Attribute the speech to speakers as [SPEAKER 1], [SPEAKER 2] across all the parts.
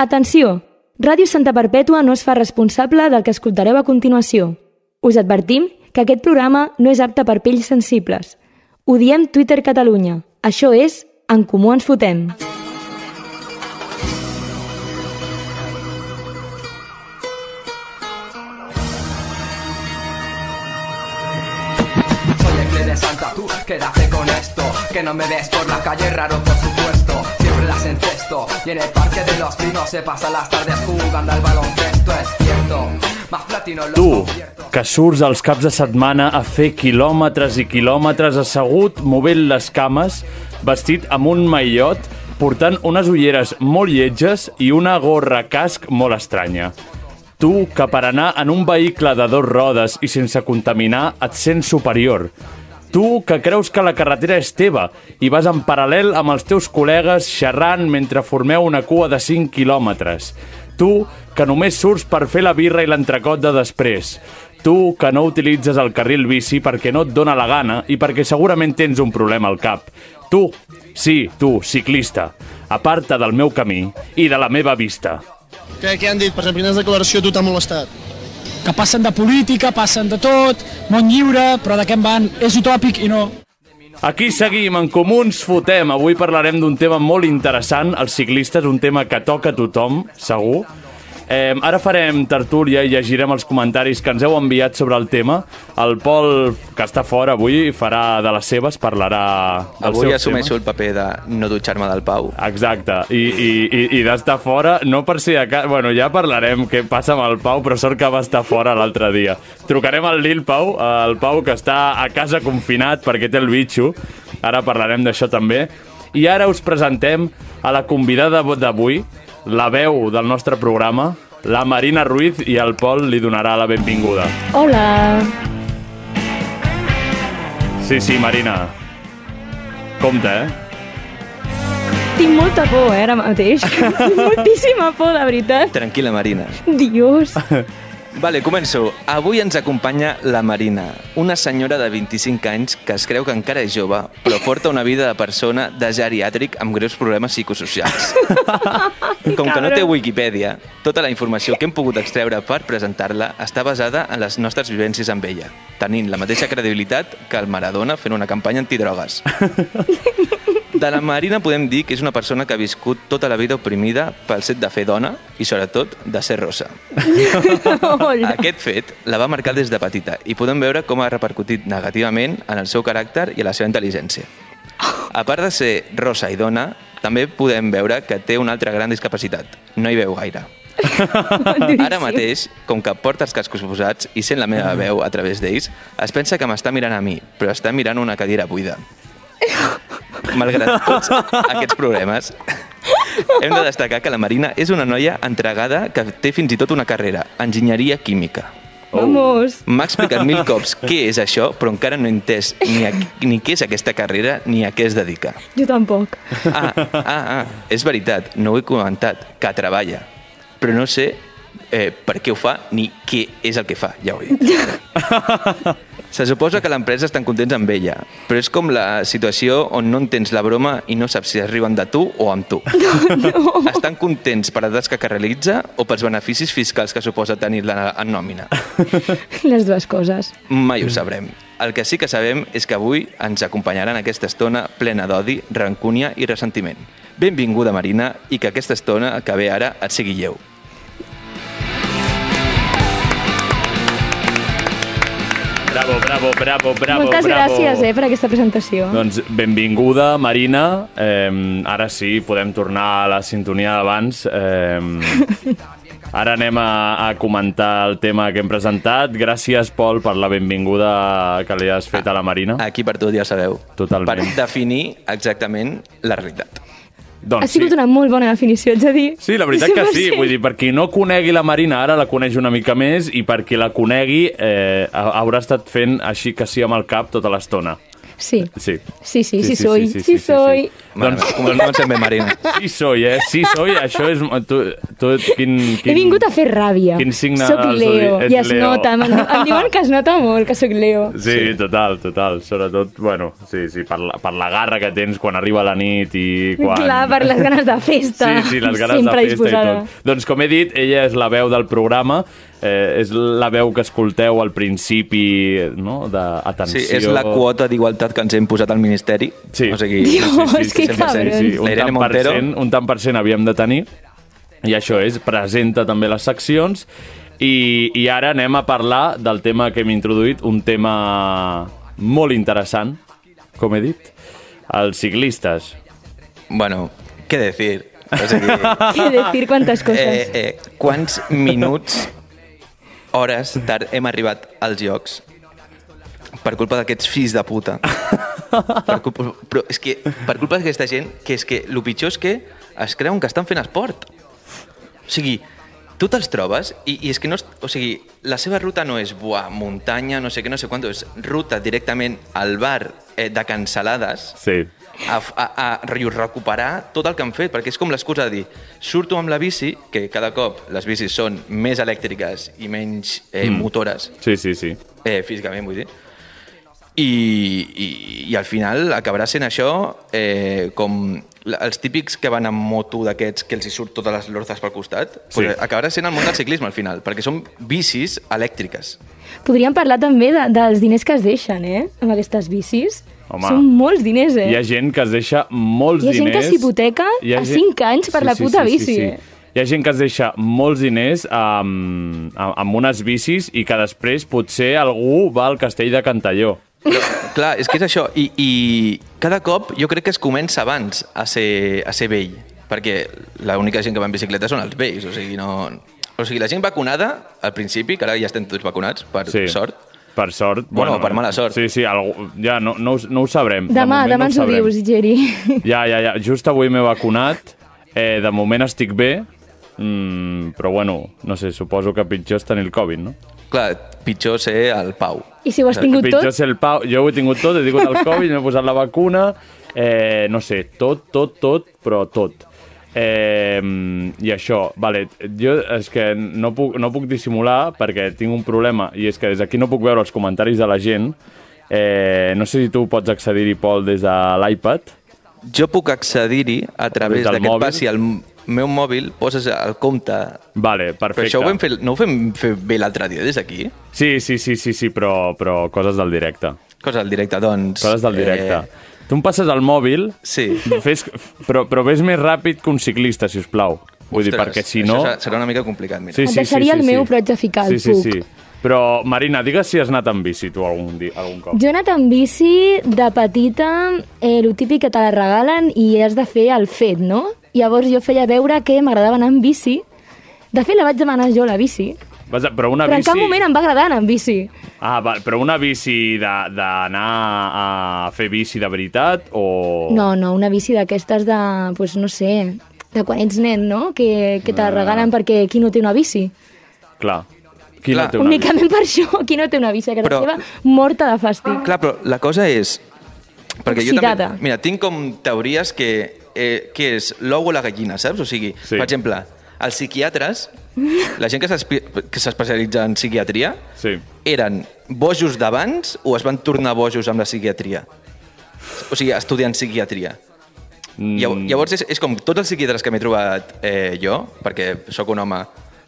[SPEAKER 1] Atenció! Ràdio Santa Perpètua no es fa responsable del que escoltareu a continuació. Us advertim que aquest programa no és apte per pells sensibles. Ho diem Twitter Catalunya. Això és En Comú Ens Fotem.
[SPEAKER 2] Soy el Cle de Santa, tú quédate con esto. Que no me ves por la calle, raro por supuesto. Siempre las encesto. Y en el parque de los pinos se pasan las tardes jugando al baloncesto, es cierto. Más platino en los
[SPEAKER 3] Tu,
[SPEAKER 2] conciertos.
[SPEAKER 3] que surts els caps de setmana a fer quilòmetres i quilòmetres assegut, movent les cames, vestit amb un maillot, portant unes ulleres molt lletges i una gorra casc molt estranya. Tu, que per anar en un vehicle de dos rodes i sense contaminar et sents superior. Tu, que creus que la carretera és teva i vas en paral·lel amb els teus col·legues xerrant mentre formeu una cua de 5 quilòmetres. Tu, que només surts per fer la birra i l'entrecot de després. Tu, que no utilitzes el carril bici perquè no et dóna la gana i perquè segurament tens un problema al cap. Tu, sí, tu, ciclista, aparta del meu camí i de la meva vista.
[SPEAKER 4] Què, què han dit? Per exemple, quina declaració a tu t'ha molestat?
[SPEAKER 5] que passen de política, passen de tot, món lliure, però de què en van? És utòpic i no.
[SPEAKER 3] Aquí seguim, en comú ens fotem. Avui parlarem d'un tema molt interessant, els ciclistes, un tema que toca a tothom, segur. Eh, ara farem tertúlia i llegirem els comentaris que ens heu enviat sobre el tema. El Pol, que està fora avui, farà de les seves, parlarà dels
[SPEAKER 6] Avui
[SPEAKER 3] seus
[SPEAKER 6] assumeixo
[SPEAKER 3] temes.
[SPEAKER 6] el paper de no dutxar-me del Pau.
[SPEAKER 3] Exacte, i, i, i, i d'estar fora, no per si de cas... Bueno, ja parlarem què passa amb el Pau, però sort que va estar fora l'altre dia. Trucarem al Lil Pau, el Pau que està a casa confinat perquè té el bitxo. Ara parlarem d'això també. I ara us presentem a la convidada d'avui, la veu del nostre programa, la Marina Ruiz, i el Pol li donarà la benvinguda.
[SPEAKER 1] Hola!
[SPEAKER 3] Sí, sí, Marina. Compte, eh?
[SPEAKER 1] Tinc molta por, eh, ara mateix. Tinc moltíssima por, de veritat.
[SPEAKER 6] Tranquil·la, Marina.
[SPEAKER 1] Dios!
[SPEAKER 6] Vale, començo. Avui ens acompanya la Marina, una senyora de 25 anys que es creu que encara és jove, però porta una vida de persona de geriàtric amb greus problemes psicosocials. Com que no té Wikipedia, tota la informació que hem pogut extreure per presentar-la està basada en les nostres vivències amb ella, tenint la mateixa credibilitat que el Maradona fent una campanya antidrogues. De la Marina podem dir que és una persona que ha viscut tota la vida oprimida pel set de fer dona i, sobretot, de ser rossa.
[SPEAKER 1] Hola!
[SPEAKER 6] Aquest fet la va marcar des de petita i podem veure com ha repercutit negativament en el seu caràcter i en la seva intel·ligència. A part de ser rosa i dona, també podem veure que té una altra gran discapacitat. No hi veu gaire.
[SPEAKER 1] Duríssim.
[SPEAKER 6] Ara mateix, com que porta els cascos posats i sent la meva veu a través d'ells, es pensa que m'està mirant a mi, però està mirant una cadira buida. Malgrat tots aquests problemes, hem de destacar que la Marina és una noia entregada que té fins i tot una carrera, enginyeria química.
[SPEAKER 1] Vamos!
[SPEAKER 6] M'ha explicat mil cops què és això, però encara no he entès ni, a, ni què és aquesta carrera ni a què es dedica.
[SPEAKER 1] Jo tampoc.
[SPEAKER 6] Ah, ah, ah, és veritat, no ho he comentat, que treballa. Però no sé eh, per què ho fa ni què és el que fa, ja ho he dit. Se suposa que l'empresa estan contents amb ella, però és com la situació on no entens la broma i no saps si arriben de tu o amb tu. Estan contents per la tasca que realitza o pels beneficis fiscals que suposa tenir-la en nòmina.
[SPEAKER 1] Les dues coses.
[SPEAKER 6] Mai ho sabrem. El que sí que sabem és que avui ens acompanyaran aquesta estona plena d'odi, rancúnia i ressentiment. Benvinguda, Marina, i que aquesta estona que ve ara et sigui lleu.
[SPEAKER 3] Bravo, bravo, bravo, bravo,
[SPEAKER 1] Moltes
[SPEAKER 3] bravo.
[SPEAKER 1] gràcies, eh, per aquesta presentació.
[SPEAKER 3] Doncs benvinguda, Marina. Eh, ara sí, podem tornar a la sintonia d'abans. Eh, ara anem a, a comentar el tema que hem presentat. Gràcies, Pol, per la benvinguda que li has fet a la Marina.
[SPEAKER 6] Aquí per tot ja ho sabeu.
[SPEAKER 3] Totalment.
[SPEAKER 6] Per definir exactament la realitat.
[SPEAKER 1] Ha
[SPEAKER 3] Doncs,
[SPEAKER 1] sigut
[SPEAKER 3] sí.
[SPEAKER 1] una molt bona definició, ets a dir.
[SPEAKER 3] Sí, la veritat que sí.
[SPEAKER 1] 100%.
[SPEAKER 3] Vull dir, per qui no conegui la Marina, ara la coneix una mica més i per qui la conegui eh, ha- haurà estat fent així que sí amb el cap tota l'estona.
[SPEAKER 1] Sí.
[SPEAKER 3] Sí.
[SPEAKER 1] Sí, sí, sí, soy, sí, soy.
[SPEAKER 6] Doncs,
[SPEAKER 3] Doncs,
[SPEAKER 6] comencem bé, Marina.
[SPEAKER 3] sí soy, eh? Sí soy, això és... Tu, tu, quin, quin...
[SPEAKER 1] He vingut a fer ràbia.
[SPEAKER 3] quin signe
[SPEAKER 1] Soc
[SPEAKER 3] els
[SPEAKER 1] Leo,
[SPEAKER 3] odi- ets
[SPEAKER 1] i es
[SPEAKER 3] Leo.
[SPEAKER 1] nota. Em, em diuen que es nota molt que sóc Leo.
[SPEAKER 3] Sí, total, total. Sobretot, bueno, sí, sí, per la, per la garra que tens quan arriba la nit i quan...
[SPEAKER 1] Clar, per les ganes de festa.
[SPEAKER 3] Sí, sí, les ganes
[SPEAKER 1] Sempre
[SPEAKER 3] de festa
[SPEAKER 1] disposada.
[SPEAKER 3] i tot. Doncs com he dit, ella és la veu del programa, eh, és la veu que escolteu al principi, no?, d'atenció...
[SPEAKER 6] Sí, és la quota d'igualtat que ens hem posat al Ministeri.
[SPEAKER 3] Sí.
[SPEAKER 6] O sigui,
[SPEAKER 1] Dios, que cabrons.
[SPEAKER 3] sí, sí, un,
[SPEAKER 6] La Irene
[SPEAKER 3] tant per
[SPEAKER 6] Montero.
[SPEAKER 3] cent, un tant per cent havíem de tenir, i això és, presenta també les seccions, i, i ara anem a parlar del tema que hem introduït, un tema molt interessant, com he dit, els ciclistes.
[SPEAKER 6] Bueno, què decir? O sigui,
[SPEAKER 1] Què dir quantes
[SPEAKER 6] eh,
[SPEAKER 1] coses. Eh,
[SPEAKER 6] eh, quants minuts, hores tard hem arribat als llocs per culpa d'aquests fills de puta. Per culpa, però és que per culpa d'aquesta gent, que és que el pitjor és que es creuen que estan fent esport. O sigui, tu te'ls trobes i, i és que no... es- O sigui, la seva ruta no és buah, muntanya, no sé què, no sé quant, és ruta directament al bar eh, de cancel·lades
[SPEAKER 3] Sí.
[SPEAKER 6] a, a, a riu- recuperar tot el que han fet, perquè és com l'excusa de dir surto amb la bici, que cada cop les bicis són més elèctriques i menys eh, mm. motores,
[SPEAKER 3] Sí, sí, sí.
[SPEAKER 6] eh, físicament vull dir, i, i, i al final acabarà sent això eh, com la- els típics que van amb moto d'aquests que els hi surt totes les lorzes pel costat,
[SPEAKER 3] Sí.
[SPEAKER 6] sí. acabarà sent el món del ciclisme al final, perquè són bicis elèctriques.
[SPEAKER 1] Podríem parlar també de, dels diners que es deixen, eh? Amb aquestes bicis.
[SPEAKER 3] Home.
[SPEAKER 1] Són molts diners, eh?
[SPEAKER 3] Hi ha gent que es deixa molts
[SPEAKER 1] Hi ha
[SPEAKER 3] diners...
[SPEAKER 1] gent que s'hipoteca
[SPEAKER 3] Hi ha
[SPEAKER 1] a cinc anys per la puta bici, eh?
[SPEAKER 3] Hi ha gent que es deixa molts diners amb, amb, amb unes bicis i que després potser algú va al castell de Cantalló.
[SPEAKER 6] Clar, és que és això. I, I cada cop jo crec que es comença abans a ser, a ser vell, perquè l'única gent que va en bicicleta són els vells, o sigui, no... O sigui, la gent vacunada, al principi, que ara ja estem tots vacunats, per sí. sort,
[SPEAKER 3] Per sort.
[SPEAKER 6] Bueno, per mala sort.
[SPEAKER 3] Sí, sí, algú, ja no, no, ho, no ho sabrem. De
[SPEAKER 1] Demà,
[SPEAKER 3] moment
[SPEAKER 1] demà
[SPEAKER 3] no
[SPEAKER 1] ens ho
[SPEAKER 3] sabrem.
[SPEAKER 1] dius, Geri.
[SPEAKER 3] Ja, ja, ja. Just avui m'he vacunat. Eh, de moment estic bé, mm, però bueno, no sé, suposo que pitjor és tenir el Covid, no?
[SPEAKER 6] clar, pitjor ser el Pau.
[SPEAKER 1] I si ho has tingut
[SPEAKER 3] pitjor
[SPEAKER 1] tot,
[SPEAKER 3] és el Pau. Jo ho he tingut tot, he tingut el Covid, m'he posat la vacuna, eh, no sé, tot, tot, tot, però tot. Eh, I això, vale, jo és que no puc, no puc dissimular perquè tinc un problema i és que des d'aquí no puc veure els comentaris de la gent. Eh, no sé si tu pots accedir-hi, Pol, des de l'iPad.
[SPEAKER 6] Jo puc accedir-hi a través
[SPEAKER 3] Des del
[SPEAKER 6] d'aquest
[SPEAKER 3] mòbil?
[SPEAKER 6] pas, si al meu mòbil poses el compte...
[SPEAKER 3] Vale,
[SPEAKER 6] Però
[SPEAKER 3] perfecte.
[SPEAKER 6] això ho vam fer, no ho fem fer bé l'altre dia, des d'aquí?
[SPEAKER 3] Sí, sí, sí, sí, sí però, però coses del directe.
[SPEAKER 6] Cosa del directe, doncs...
[SPEAKER 3] Coses del directe. Eh... Tu em passes el mòbil,
[SPEAKER 6] Sí.
[SPEAKER 3] fes, però, però vés més ràpid que un ciclista, si us plau. Vull dir,
[SPEAKER 6] Ostres,
[SPEAKER 3] perquè si no...
[SPEAKER 6] Això serà una mica complicat, mira.
[SPEAKER 3] Sí,
[SPEAKER 1] Et deixaria el meu, però haig de ficar el
[SPEAKER 3] sí, sí,
[SPEAKER 1] puc.
[SPEAKER 3] Sí. Però, Marina, digues si has anat amb bici tu algun, dia, algun cop.
[SPEAKER 1] Jo he anat en bici de petita, eh, el típic que te la regalen i has de fer el fet, no? Llavors jo feia veure que m'agradava anar en bici. De fet, la vaig demanar jo, la bici.
[SPEAKER 3] Vas a, però una
[SPEAKER 1] Però en
[SPEAKER 3] bici...
[SPEAKER 1] cap moment em va agradar anar en bici.
[SPEAKER 3] Ah, va, però una bici de- d'anar a fer bici de veritat o...
[SPEAKER 1] No, no, una bici d'aquestes de, pues, no sé, de quan ets nen, no? Que, que
[SPEAKER 3] Ah.
[SPEAKER 1] te la regalen perquè qui no té una bici?
[SPEAKER 3] Clar. Qui
[SPEAKER 6] Clar.
[SPEAKER 3] no té una bici? Ah,
[SPEAKER 1] Únicament per això, qui no té una bici a casa
[SPEAKER 6] Però-
[SPEAKER 1] Però... seva, morta de fàstic.
[SPEAKER 6] Clar, però la cosa és... Perquè jo també,
[SPEAKER 1] Oxidada.
[SPEAKER 6] mira, tinc com teories que, eh, que és l'ou o la gallina, saps? O sigui,
[SPEAKER 3] Sí.
[SPEAKER 6] sí. per exemple, els psiquiatres, la gent que s'espe- que s'especialitza en psiquiatria,
[SPEAKER 3] Sí.
[SPEAKER 6] eren bojos d'abans o es van tornar bojos amb la psiquiatria? O sigui, estudiant psiquiatria. Mm. Llavors, és, és com tots els psiquiatres que m'he trobat eh, jo, perquè sóc un home,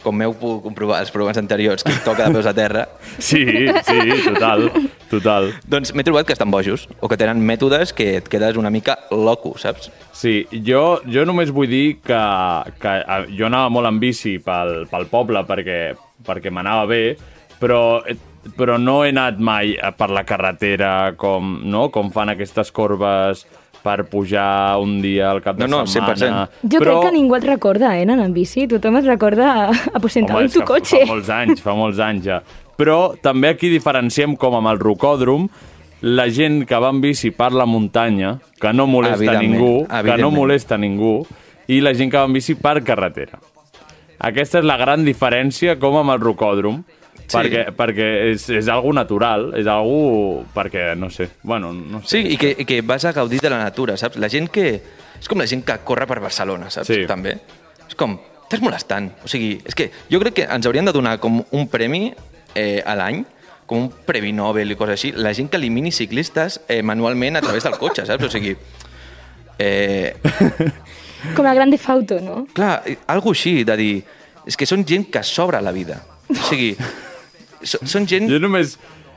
[SPEAKER 6] com heu pogut comprovar els programes anteriors, que toca de peus a terra,
[SPEAKER 3] Sí, sí, total, total.
[SPEAKER 6] Doncs m'he trobat que estan bojos, o que tenen mètodes que et quedes una mica loco, saps?
[SPEAKER 3] Sí, jo, jo només vull dir que, que eh, jo anava molt en bici pel, pel poble perquè, perquè m'anava bé, però, però no he anat mai eh, per la carretera com, no? com fan aquestes corbes per pujar un dia al cap de
[SPEAKER 6] No, no,
[SPEAKER 3] setmana.
[SPEAKER 6] 100%.
[SPEAKER 1] Jo crec que ningú et recorda, eh, anar en bici. Tothom et recorda aposentar
[SPEAKER 3] Home,
[SPEAKER 1] el
[SPEAKER 3] és
[SPEAKER 1] tu
[SPEAKER 3] que
[SPEAKER 1] cotxe.
[SPEAKER 3] Fa molts anys, fa molts anys ja. Però també aquí diferenciem com amb el rocòdrom la gent que va en bici per la muntanya, que no molesta
[SPEAKER 6] Evidentment,
[SPEAKER 3] ningú, que no
[SPEAKER 6] evidentment.
[SPEAKER 3] molesta ningú, i la gent que va en bici per carretera. Aquesta és la gran diferència com amb el rocòdrom, Sí. Perquè, perquè és, és algo natural, és algo... perquè, no sé, bueno, no sé.
[SPEAKER 6] Sí, i que, i que vas a gaudir de la natura, saps? La gent que... És com la gent que corre per Barcelona, saps?
[SPEAKER 3] Sí.
[SPEAKER 6] També. És com... Estàs molestant. O sigui, és que jo crec que ens haurien de donar com un premi eh, a l'any, com un premi Nobel i coses així, la gent que elimini ciclistes eh, manualment a través del cotxe, saps? O sigui... Eh,
[SPEAKER 1] Com a Grande Fauto, no?
[SPEAKER 6] clar, eh, algo així de dir... És que són gent que s'obre la vida. O sigui, so, són gent...
[SPEAKER 3] Jo només...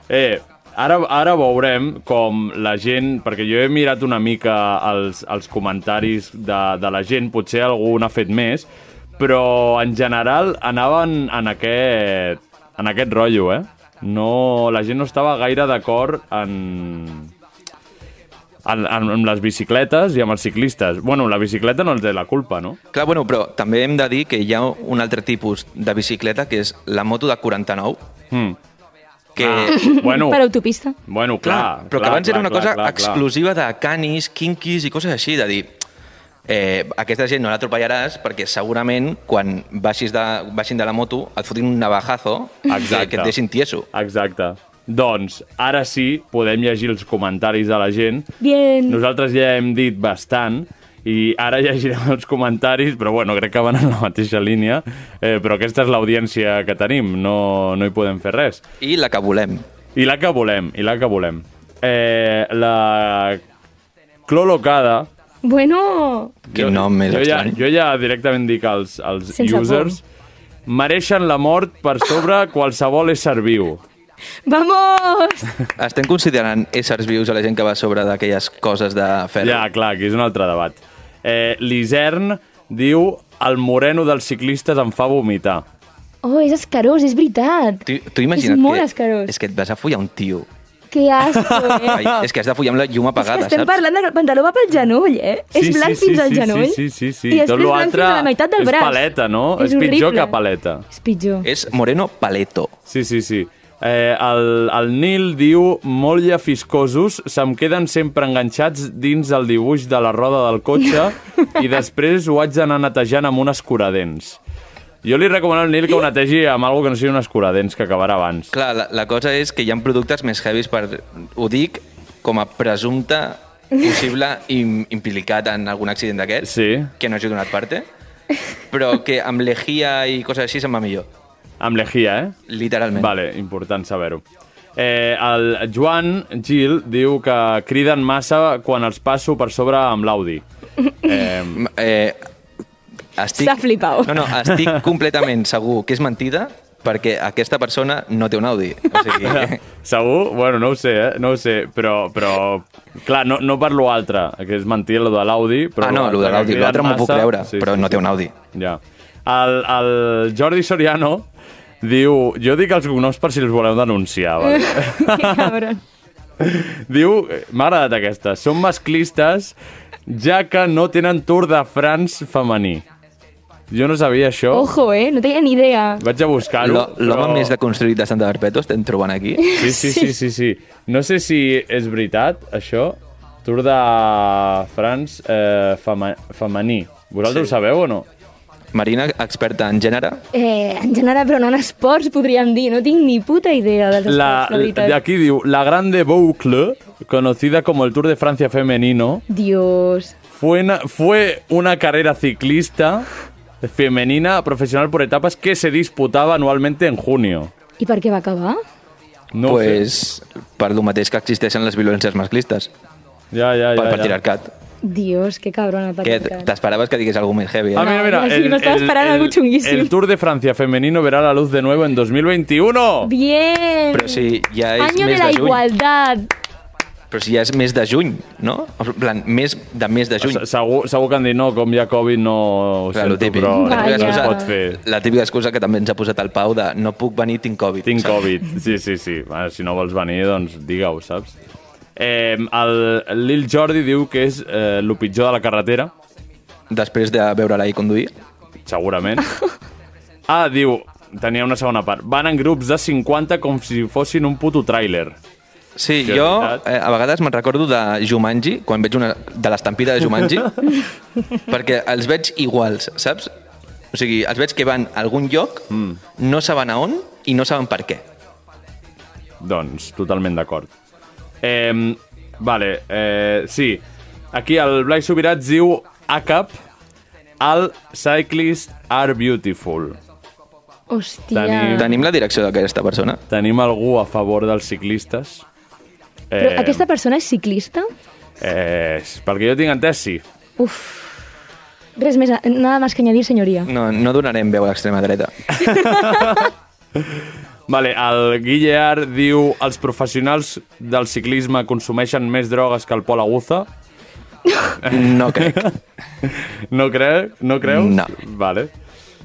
[SPEAKER 3] Eh, ara, ara veurem com la gent... Perquè jo he mirat una mica els, els comentaris de, de la gent, potser algú n'ha fet més, però en general anaven en aquest, en aquest rotllo, eh? No, la gent no estava gaire d'acord en, en, en, amb les bicicletes i amb els ciclistes. Bueno, la bicicleta no els té la culpa, no?
[SPEAKER 6] Clar, bueno, però també hem de dir que hi ha un altre tipus de bicicleta, que és la moto de 49,
[SPEAKER 3] Mm.
[SPEAKER 6] que...
[SPEAKER 3] bueno,
[SPEAKER 1] Per autopista.
[SPEAKER 3] bueno, Ah. clar.
[SPEAKER 6] però que
[SPEAKER 3] clar,
[SPEAKER 6] abans
[SPEAKER 3] clar,
[SPEAKER 6] era una
[SPEAKER 3] clar,
[SPEAKER 6] cosa
[SPEAKER 3] clar, clar.
[SPEAKER 6] exclusiva de canis, quinquis i coses així, de dir... Eh, aquesta gent no l'atropellaràs perquè segurament quan baixis de, baixin de la moto et fotin un navajazo
[SPEAKER 3] Exacte.
[SPEAKER 6] que et deixin tieso.
[SPEAKER 3] Exacte. Doncs, ara sí, podem llegir els comentaris de la gent.
[SPEAKER 1] Bien.
[SPEAKER 3] Nosaltres ja hem dit bastant i ara llegirem els comentaris, però bueno, crec que van en la mateixa línia. Eh, però aquesta és l'audiència que tenim, no, no hi podem fer res.
[SPEAKER 6] I la que volem.
[SPEAKER 3] I la que volem, i la que volem. Eh, la Clolocada...
[SPEAKER 1] Bueno,
[SPEAKER 6] Quin nom més
[SPEAKER 3] jo ja,
[SPEAKER 6] estrany.
[SPEAKER 3] jo ja directament dic als, als
[SPEAKER 1] Sense por.
[SPEAKER 3] users... Mereixen la mort per sobre qualsevol ésser viu.
[SPEAKER 1] vamos!
[SPEAKER 6] Estem considerant éssers vius a la gent que va a sobre d'aquelles coses de ferro.
[SPEAKER 3] Ja, clar, aquí és un altre debat. Eh, L'Isern diu el moreno dels ciclistes em fa vomitar.
[SPEAKER 1] Oh, és escarós, és veritat.
[SPEAKER 6] Tu, tu imagina't
[SPEAKER 1] és molt
[SPEAKER 6] que,
[SPEAKER 1] escarós.
[SPEAKER 6] és que et vas a follar un tio.
[SPEAKER 1] Que asco, eh?
[SPEAKER 6] Ai, és que has de follar amb la llum
[SPEAKER 1] és
[SPEAKER 6] apagada,
[SPEAKER 1] que estem
[SPEAKER 6] saps?
[SPEAKER 1] parlant de pantaló va pel genoll, eh? és blanc fins al
[SPEAKER 3] sí,
[SPEAKER 1] genoll.
[SPEAKER 3] Sí, sí, sí, sí.
[SPEAKER 1] I després
[SPEAKER 3] lo
[SPEAKER 1] blanc fins a la meitat del
[SPEAKER 3] és
[SPEAKER 1] braç.
[SPEAKER 3] paleta, no? És,
[SPEAKER 1] horrible.
[SPEAKER 3] pitjor que paleta. Eh.
[SPEAKER 1] És pitjor.
[SPEAKER 6] És Moreno Paleto.
[SPEAKER 3] Sí, sí, sí. Eh, el, el Nil diu molt llafiscosos, se'm queden sempre enganxats dins el dibuix de la roda del cotxe i després ho haig d'anar netejant amb un escuradents. Jo li recomano al Nil que ho netegi amb alguna que no sigui un escuradents, que acabarà abans.
[SPEAKER 6] Clar, la, la cosa és que hi ha productes més heavies per... Ho dic com a presumpte possible im, implicat en algun accident d'aquest,
[SPEAKER 3] Sí.
[SPEAKER 6] que no hagi donat parte, però que amb lejia i coses així se'n va millor,
[SPEAKER 3] Amb lejia, eh?
[SPEAKER 6] literalment.
[SPEAKER 3] Vale, important saber-ho. Eh, el Joan Gil diu que criden massa quan els passo per sobre amb l'Audi. Eh,
[SPEAKER 6] M- Eh, estic...
[SPEAKER 1] S'ha flipau.
[SPEAKER 6] No, no, estic completament segur que és mentida perquè aquesta persona no té un Audi. O sigui,
[SPEAKER 3] segur? Bueno, no ho sé, eh? No ho sé, però... però clar, no, no per l'altre, que és mentir lo de l'Audi, però...
[SPEAKER 6] ah, no, el de
[SPEAKER 3] que
[SPEAKER 6] l'Audi,
[SPEAKER 3] criden
[SPEAKER 6] l'altre m'ho puc
[SPEAKER 3] massa-
[SPEAKER 6] creure, però no té un Audi.
[SPEAKER 3] Ja. El, el Jordi Soriano diu... Jo dic els cognoms per si els voleu denunciar, vale?
[SPEAKER 1] que cabron.
[SPEAKER 3] Diu, m'ha agradat aquesta, són masclistes ja que no tenen Tour de France femení. Jo no sabia això, oh.
[SPEAKER 1] Ojo, eh? No tenia ni idea.
[SPEAKER 3] vaig a buscar-ho.
[SPEAKER 6] L'ho- L'home
[SPEAKER 3] però-
[SPEAKER 6] més deconstruït de Santa Perpètua estem trobant aquí.
[SPEAKER 3] Sí, sí, sí, sí, sí. No sé si és veritat, això, Tour de France eh, fema femení. Vosaltres sí. ho sabeu o no?
[SPEAKER 6] Marina, experta en gènere,
[SPEAKER 1] Eh, en general, però no en esports, podríem dir. No tinc ni puta idea dels esports, la,
[SPEAKER 3] La,
[SPEAKER 1] veritat.
[SPEAKER 3] aquí diu, la Grande Boucle, conocida como el Tour de Francia femenino,
[SPEAKER 1] Dios.
[SPEAKER 3] Fue una, fue una carrera ciclista femenina profesional por etapas que se disputaba anualmente en junio.
[SPEAKER 1] I per què va acabar?
[SPEAKER 3] No ho sé.
[SPEAKER 6] pues, per lo mateix que existeixen les violències masclistes,
[SPEAKER 3] ja, ja, ja,
[SPEAKER 6] pel
[SPEAKER 3] ja.
[SPEAKER 6] patriarcat.
[SPEAKER 1] Dios, que cabrona. Per
[SPEAKER 6] Que t- t'esperaves que digués alguna més heavy,
[SPEAKER 3] Ah,
[SPEAKER 6] eh?
[SPEAKER 3] mira, mira,
[SPEAKER 1] Ay, sí, me estaba esperando algo chunguísimo.
[SPEAKER 3] el Tour de Francia femenino verá la luz de nuevo en 2021.
[SPEAKER 1] Bien.
[SPEAKER 6] Però si ja és
[SPEAKER 1] Año de
[SPEAKER 6] més
[SPEAKER 1] la
[SPEAKER 6] de juny.
[SPEAKER 1] igualdad.
[SPEAKER 6] Però si ja és més de juny, no? En plan, més de més de juny.
[SPEAKER 3] Se- Segur, segur que han dit no, com hi ha Covid no Ah, ho
[SPEAKER 6] Clar,
[SPEAKER 3] sento,
[SPEAKER 6] lo típic.
[SPEAKER 3] però
[SPEAKER 1] Vaja.
[SPEAKER 3] no es pot fer.
[SPEAKER 6] La típica excusa que també ens ha posat el Pau de no puc venir, tinc Covid.
[SPEAKER 3] Tinc Covid, sí, sí, sí. Bueno, si no vols venir, doncs digue-ho, saps? Eh, el Lil Jordi diu que és eh, el pitjor de la carretera.
[SPEAKER 6] Després de veure-la i conduir.
[SPEAKER 3] Segurament. Ah, diu, tenia una segona part. Van en grups de 50 com si fossin un puto tràiler.
[SPEAKER 6] Sí,
[SPEAKER 3] Sí, és
[SPEAKER 6] jo
[SPEAKER 3] veritat.
[SPEAKER 6] eh, a vegades me'n recordo de Jumanji, quan veig una... de l'estampida de Jumanji, perquè els veig iguals, saps? O sigui, els veig que van a algun lloc, mm. no saben a on, i no saben per què.
[SPEAKER 3] Doncs, totalment d'acord. Eh, vale, eh, sí. Aquí el Blai Subirats diu ACAP, All Cyclists Are Beautiful.
[SPEAKER 1] Hòstia.
[SPEAKER 3] Tenim-
[SPEAKER 6] Tenim la direcció d'aquesta persona?
[SPEAKER 3] Tenim algú a favor dels ciclistes?
[SPEAKER 1] Però
[SPEAKER 6] eh,
[SPEAKER 1] aquesta persona és ciclista?
[SPEAKER 3] Eh, perquè jo tinc entès, sí.
[SPEAKER 1] Uf. Res més, eh, nada más que añadir, senyoria.
[SPEAKER 6] No, no donarem veu a l'extrema dreta.
[SPEAKER 3] Vale, el Guillear diu els professionals del ciclisme consumeixen més drogues que el Pol Aguza.
[SPEAKER 6] No crec.
[SPEAKER 3] No, cre no creus?
[SPEAKER 6] No.
[SPEAKER 3] Vale.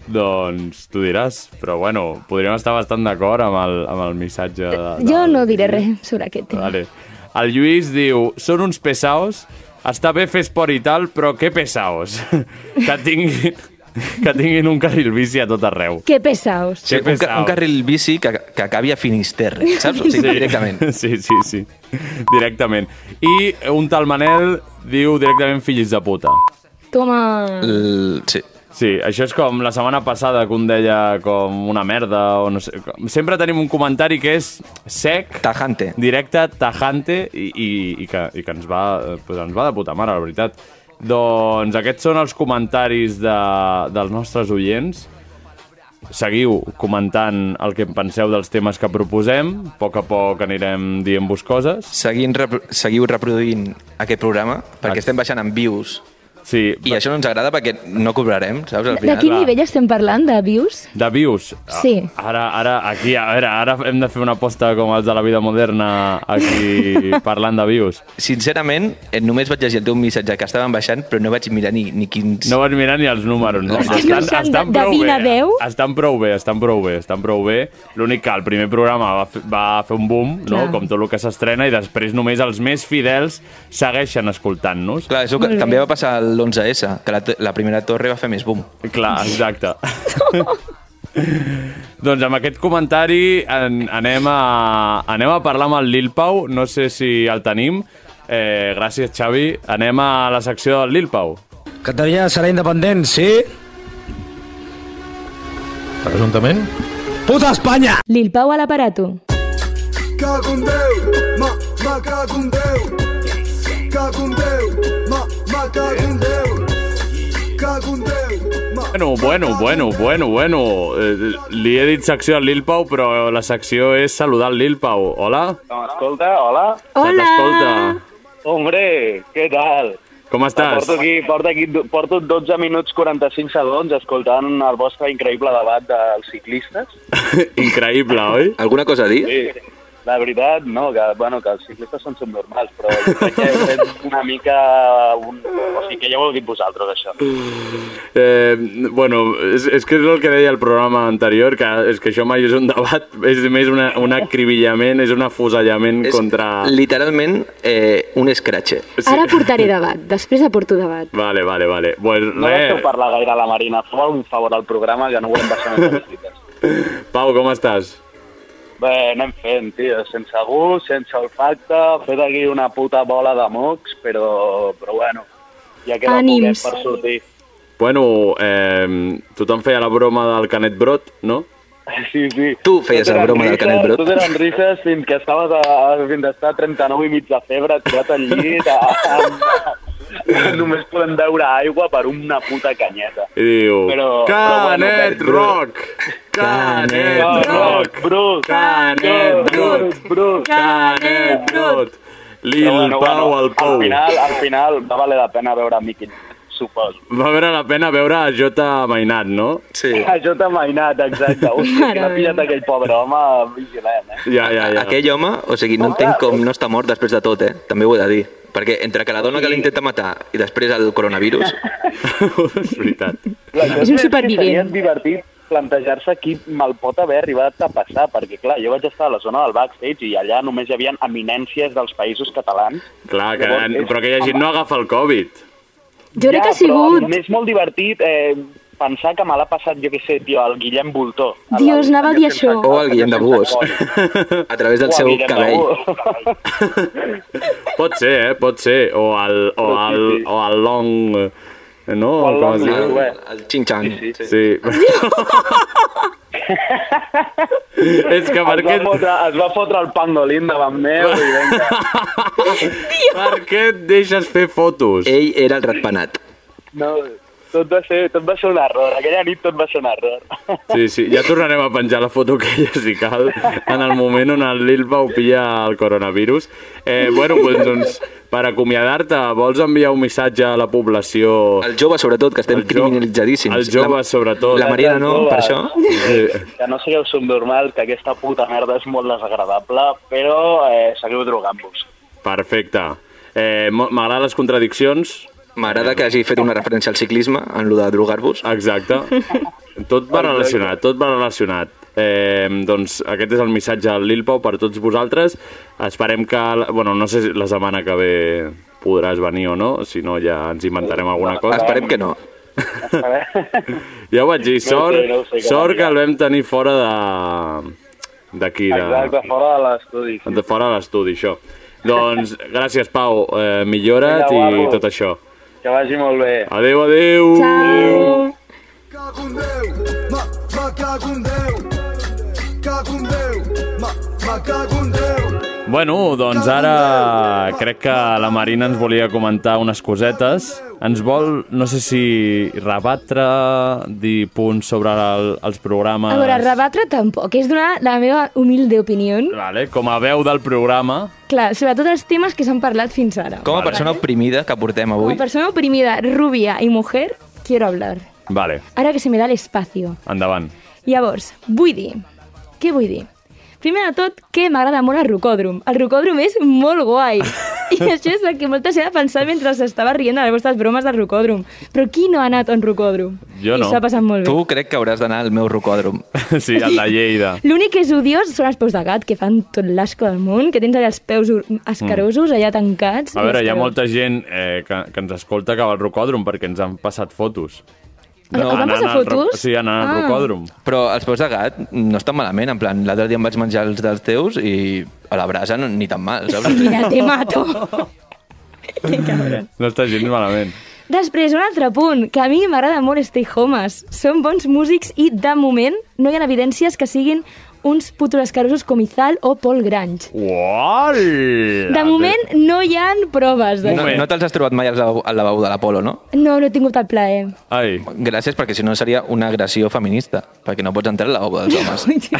[SPEAKER 3] Doncs tu diràs, però bueno, podríem estar bastant d'acord amb, el, amb el missatge. De, de,
[SPEAKER 1] Eh, Jo no diré res sobre aquest tema.
[SPEAKER 3] Vale. El Lluís diu, són uns pesaos, està bé fer esport i tal, però que pesaos. que, tinguin, que tinguin un carril bici a tot arreu.
[SPEAKER 1] Que pesaos.
[SPEAKER 6] Sí, un, ca
[SPEAKER 3] pesado.
[SPEAKER 6] un carril bici que, que acabi a Finisterre, saps? O sigui, sí. directament.
[SPEAKER 3] Sí, sí, sí. Directament. I un tal Manel diu directament fills de puta.
[SPEAKER 1] Toma...
[SPEAKER 6] L... Sí.
[SPEAKER 3] Sí, això és com la setmana passada que un deia com una merda o no sé. com- Sempre tenim un comentari que és sec,
[SPEAKER 6] Tajante.
[SPEAKER 3] directe, tajante i, i, i, que, i que ens va, eh, pues ens va de puta mare, la veritat. Doncs aquests són els comentaris de, dels nostres oients. Seguiu comentant el que en penseu dels temes que proposem. A poc a poc anirem dient-vos coses.
[SPEAKER 6] Seguint, repro seguiu reproduint aquest programa perquè
[SPEAKER 3] Ah.
[SPEAKER 6] estem baixant en views
[SPEAKER 3] Sí,
[SPEAKER 6] i això no ens agrada perquè no cobrarem, saps? Al
[SPEAKER 1] De
[SPEAKER 6] final.
[SPEAKER 1] quin
[SPEAKER 3] va.
[SPEAKER 1] nivell estem parlant, eh, de views?
[SPEAKER 3] de views. Ah,
[SPEAKER 1] Sí.
[SPEAKER 3] Ara, ara, aquí, a veure, ara hem de fer una aposta com els de la vida moderna aquí parlant de views.
[SPEAKER 6] Sincerament, eh, només vaig llegir el teu missatge que estaven baixant, però no vaig mirar ni, ni quins...
[SPEAKER 3] No vas mirar ni els números, no?
[SPEAKER 1] Estem baixant de- de 20 a 10?
[SPEAKER 3] eh? Estan prou bé, estan prou bé, estan prou bé. L'únic que el primer programa va, fer- va fer un boom, no?
[SPEAKER 1] Clar.
[SPEAKER 3] com tot el que s'estrena, i després només els més fidels segueixen escoltant-nos.
[SPEAKER 6] Clar, és el que
[SPEAKER 1] Molt bé.
[SPEAKER 6] també va passar a l'11S, que la, t- la primera torre va fer més boom.
[SPEAKER 3] Clar, exacte. doncs amb aquest comentari en, anem, a, anem a parlar amb el Lil Pau, no sé si el tenim. Eh, gràcies, Xavi. Anem a la secció del Lil Pau.
[SPEAKER 7] Catalunya serà independent, sí?
[SPEAKER 8] Presumptament?
[SPEAKER 7] Puta Espanya!
[SPEAKER 1] Lil Pau a l'aparato.
[SPEAKER 9] Cago en Déu, ma, ma cago en Déu. Cago en Déu, ma, ma cago en Déu. Cago en Déu, ma,
[SPEAKER 3] Bueno, bueno, bueno, bueno, bueno. Eh, li he dit secció al Lil Pau, però la secció és saludar el Lil Pau. Hola?
[SPEAKER 10] Escolta, hola.
[SPEAKER 3] Se
[SPEAKER 1] Hola!
[SPEAKER 3] t'escolta.
[SPEAKER 10] Hombre, què tal?
[SPEAKER 3] Com estàs?
[SPEAKER 10] Porto aquí, porto aquí, porto 12 minuts 45 segons escoltant el vostre increïble debat dels ciclistes.
[SPEAKER 3] Increïble, oi?
[SPEAKER 6] Alguna cosa a dir?
[SPEAKER 10] Sí. La veritat, no, que, bueno, que els ciclistes són subnormals, però jo crec que heu fet una mica... Un... O sigui, que ja ho heu dit vosaltres, això.
[SPEAKER 3] Eh, bueno, és, és que és el que deia el programa anterior, que és que això mai és un debat, és més una, un acribillament, és un afusellament és contra...
[SPEAKER 6] literalment eh, un escratxe.
[SPEAKER 11] Ara portaré debat, després aporto debat.
[SPEAKER 3] Vale, vale, vale. Pues,
[SPEAKER 10] No deixeu
[SPEAKER 3] res,
[SPEAKER 10] parlar gaire a la Marina. Feu un favor al programa, que no volem baixar més els ciclistes.
[SPEAKER 3] Pau, com estàs?
[SPEAKER 10] Bé, anem fent, tio, sense gust, sense olfacte, fet aquí una puta bola de mocs, però, però bueno, ja queda
[SPEAKER 1] Ànims.
[SPEAKER 10] poquet per sortir.
[SPEAKER 3] Bueno, eh, tothom feia la broma del Canet Brot, no?
[SPEAKER 10] Sí, sí.
[SPEAKER 6] Tu feies
[SPEAKER 10] Tot
[SPEAKER 6] la
[SPEAKER 10] eren
[SPEAKER 6] broma del
[SPEAKER 10] rises,
[SPEAKER 6] Canet Brot.
[SPEAKER 10] Tot eren rises fins que estaves a, a- fins a estar 39 i mig de febre, tirat al llit, a, a, a, només podem beure aigua per una puta canyeta.
[SPEAKER 3] I diu...
[SPEAKER 10] Però- però bueno,
[SPEAKER 3] Canet
[SPEAKER 10] Canet Brot.
[SPEAKER 3] Rock! Canet Rock!
[SPEAKER 10] Brut!
[SPEAKER 3] Canet Brut!
[SPEAKER 10] Brut!
[SPEAKER 3] Canet Brut! Lil Pau al Pou.
[SPEAKER 10] Al final, al final va valer la pena veure Mickey, suposo.
[SPEAKER 3] Va veure la pena veure a Jota Mainat, no?
[SPEAKER 6] Sí.
[SPEAKER 10] Això t'ha mainat, exacte. Hòstia,
[SPEAKER 1] Mare
[SPEAKER 10] que l'ha pillat
[SPEAKER 1] meva.
[SPEAKER 10] aquell pobre home, vigilant, eh?
[SPEAKER 3] Ja, ja, ja.
[SPEAKER 6] Aquell home, o sigui, no entenc com no està mort després de tot, eh? També ho he de dir. Perquè entre que la dona que l'intenta matar i després el coronavirus...
[SPEAKER 3] és veritat.
[SPEAKER 10] Clar, jo
[SPEAKER 11] És un
[SPEAKER 10] crec que
[SPEAKER 11] supervivent.
[SPEAKER 10] Seria divertit plantejar-se qui me'l pot haver arribat a passar, perquè, clar, jo vaig estar a la zona del backstage i allà només hi havia eminències dels països catalans.
[SPEAKER 3] Clar, que,
[SPEAKER 10] Llavors, és-
[SPEAKER 3] però aquella gent no agafa el Covid.
[SPEAKER 1] Jo crec que ha sigut...
[SPEAKER 10] Però és molt divertit eh, pensar que me l'ha passat, jo què sé, tio, el Guillem Voltó.
[SPEAKER 1] Dios, anava a dir això.
[SPEAKER 6] O el Guillem de Búhos. A través del seu cabell.
[SPEAKER 3] Pot ser, eh? Pot ser. O el, o el, o el long... eh, No?
[SPEAKER 10] O el
[SPEAKER 3] Com
[SPEAKER 6] Ah,
[SPEAKER 10] long
[SPEAKER 3] es diu?
[SPEAKER 10] long.
[SPEAKER 6] El, el xinxang.
[SPEAKER 3] Sí. És que per
[SPEAKER 10] es, va
[SPEAKER 3] aquest-
[SPEAKER 10] fotre, es va fotre el pangolín davant meu i vinga.
[SPEAKER 3] Per què et deixes fer fotos?
[SPEAKER 6] Eh.
[SPEAKER 8] Ell era el ratpenat.
[SPEAKER 10] No, tot va, ser, tot va ser un error. Aquella nit tot va ser un error.
[SPEAKER 3] Sí, sí, ja tornarem a penjar la foto que ja si cal en el moment on el Lil Pau pilla el coronavirus. Eh, bueno, doncs, doncs per acomiadar-te, vols enviar un missatge a la població...
[SPEAKER 8] Els joves, sobretot, que estem
[SPEAKER 3] jo-
[SPEAKER 8] criminalitzadíssims.
[SPEAKER 3] Els joves, sobretot.
[SPEAKER 8] La Mariana no, per això.
[SPEAKER 3] Sí.
[SPEAKER 10] Que no sigueu subnormals, que aquesta puta merda és molt desagradable, però eh, seguiu drogant-vos.
[SPEAKER 3] Perfecte. Eh, mo- M'agraden les contradiccions.
[SPEAKER 8] M'agrada que hagi fet una referència al ciclisme en lo de drogar-vos.
[SPEAKER 3] Exacte. Tot va relacionat, tot va relacionat. Eh, doncs aquest és el missatge al Lil Pau per tots vosaltres. Esperem que... la- Bueno, no sé si la setmana que ve podràs venir o no, si no ja ens inventarem alguna cosa.
[SPEAKER 8] Esperem que no.
[SPEAKER 3] Ja ho vaig dir,
[SPEAKER 10] No ho sé,
[SPEAKER 3] sort,
[SPEAKER 10] no ho sé, que
[SPEAKER 3] sort
[SPEAKER 10] va
[SPEAKER 3] que el vam tenir fora de... d'aquí, de,
[SPEAKER 10] Exacte, fora de l'estudi.
[SPEAKER 3] de fora de l'estudi, això. Doncs gràcies, Pau, eh, millora't
[SPEAKER 10] Vinga,
[SPEAKER 3] i
[SPEAKER 10] guapo.
[SPEAKER 3] tot això.
[SPEAKER 10] Que vagi molt bé.
[SPEAKER 3] Adeu, adeu!
[SPEAKER 9] Ma, ma cago en Déu. Cago en Déu. Ma, ma cago en Déu.
[SPEAKER 3] Bueno, doncs ara crec que la Marina ens volia comentar unes cosetes. Ens vol, no sé si rebatre, dir punts sobre el, els programes...
[SPEAKER 1] A veure, rebatre tampoc. És donar la meva humilde opinió.
[SPEAKER 3] Vale, com a veu del programa...
[SPEAKER 1] Clar, sobretot els temes que s'han parlat fins ara.
[SPEAKER 6] Com a persona oprimida que portem
[SPEAKER 1] Como
[SPEAKER 6] avui,
[SPEAKER 1] persona oprimida, rubia y mujer, quiero hablar.
[SPEAKER 3] Vale,
[SPEAKER 1] Ara que se me da el espacio.
[SPEAKER 3] endavant.
[SPEAKER 1] Llavors, vull dir... Què vull dir? Primer de tot, que m'agrada molt el rocòdrom. El rocòdrom és molt guai. I això és el que molta gent ha pensat mentre s'estava rient de les vostres bromes del rocòdrom. Però qui no ha anat a un rocòdrom?
[SPEAKER 6] jo no.
[SPEAKER 1] I s'ha passat molt bé.
[SPEAKER 6] Tu crec que hauràs d'anar al meu rocòdrom.
[SPEAKER 3] Sí, al de Lleida.
[SPEAKER 1] L'únic que és odiós són els peus de gat, que fan tot l'asco del món, que tens allà els peus ur- escarosos, allà tancats.
[SPEAKER 3] Mm. A veure, hi ha
[SPEAKER 1] Escarosos.
[SPEAKER 3] molta gent eh, que, que ens escolta que va al rocòdrom perquè ens han passat fotos.
[SPEAKER 1] Ah, No. Us van
[SPEAKER 3] Anant
[SPEAKER 1] passar
[SPEAKER 3] al ro-
[SPEAKER 1] fotos?
[SPEAKER 3] Sí, anant al
[SPEAKER 1] Ah.
[SPEAKER 3] rocòdrom.
[SPEAKER 6] Però els peus de gat no estan malament, en plan, l'altre dia em vaig menjar els dels teus i a la brasa no, ni tan mal, saps?
[SPEAKER 1] Mira, te mato.
[SPEAKER 3] No està gens malament.
[SPEAKER 1] Després, un altre punt, que a mi m'agrada molt Stay Homes. Són bons músics i, de moment, no hi ha evidències que siguin uns putos escarosos com Izal o Paul Grange.
[SPEAKER 3] Uol!
[SPEAKER 1] De moment, no hi han proves. De...
[SPEAKER 6] No, no te'ls has trobat mai al lavabo, al lavabo de l'Apolo, no?
[SPEAKER 1] No, no he tingut el plaer.
[SPEAKER 3] Ai.
[SPEAKER 6] Gràcies, perquè si no seria una agressió feminista, perquè no pots entrar al lavabo dels homes.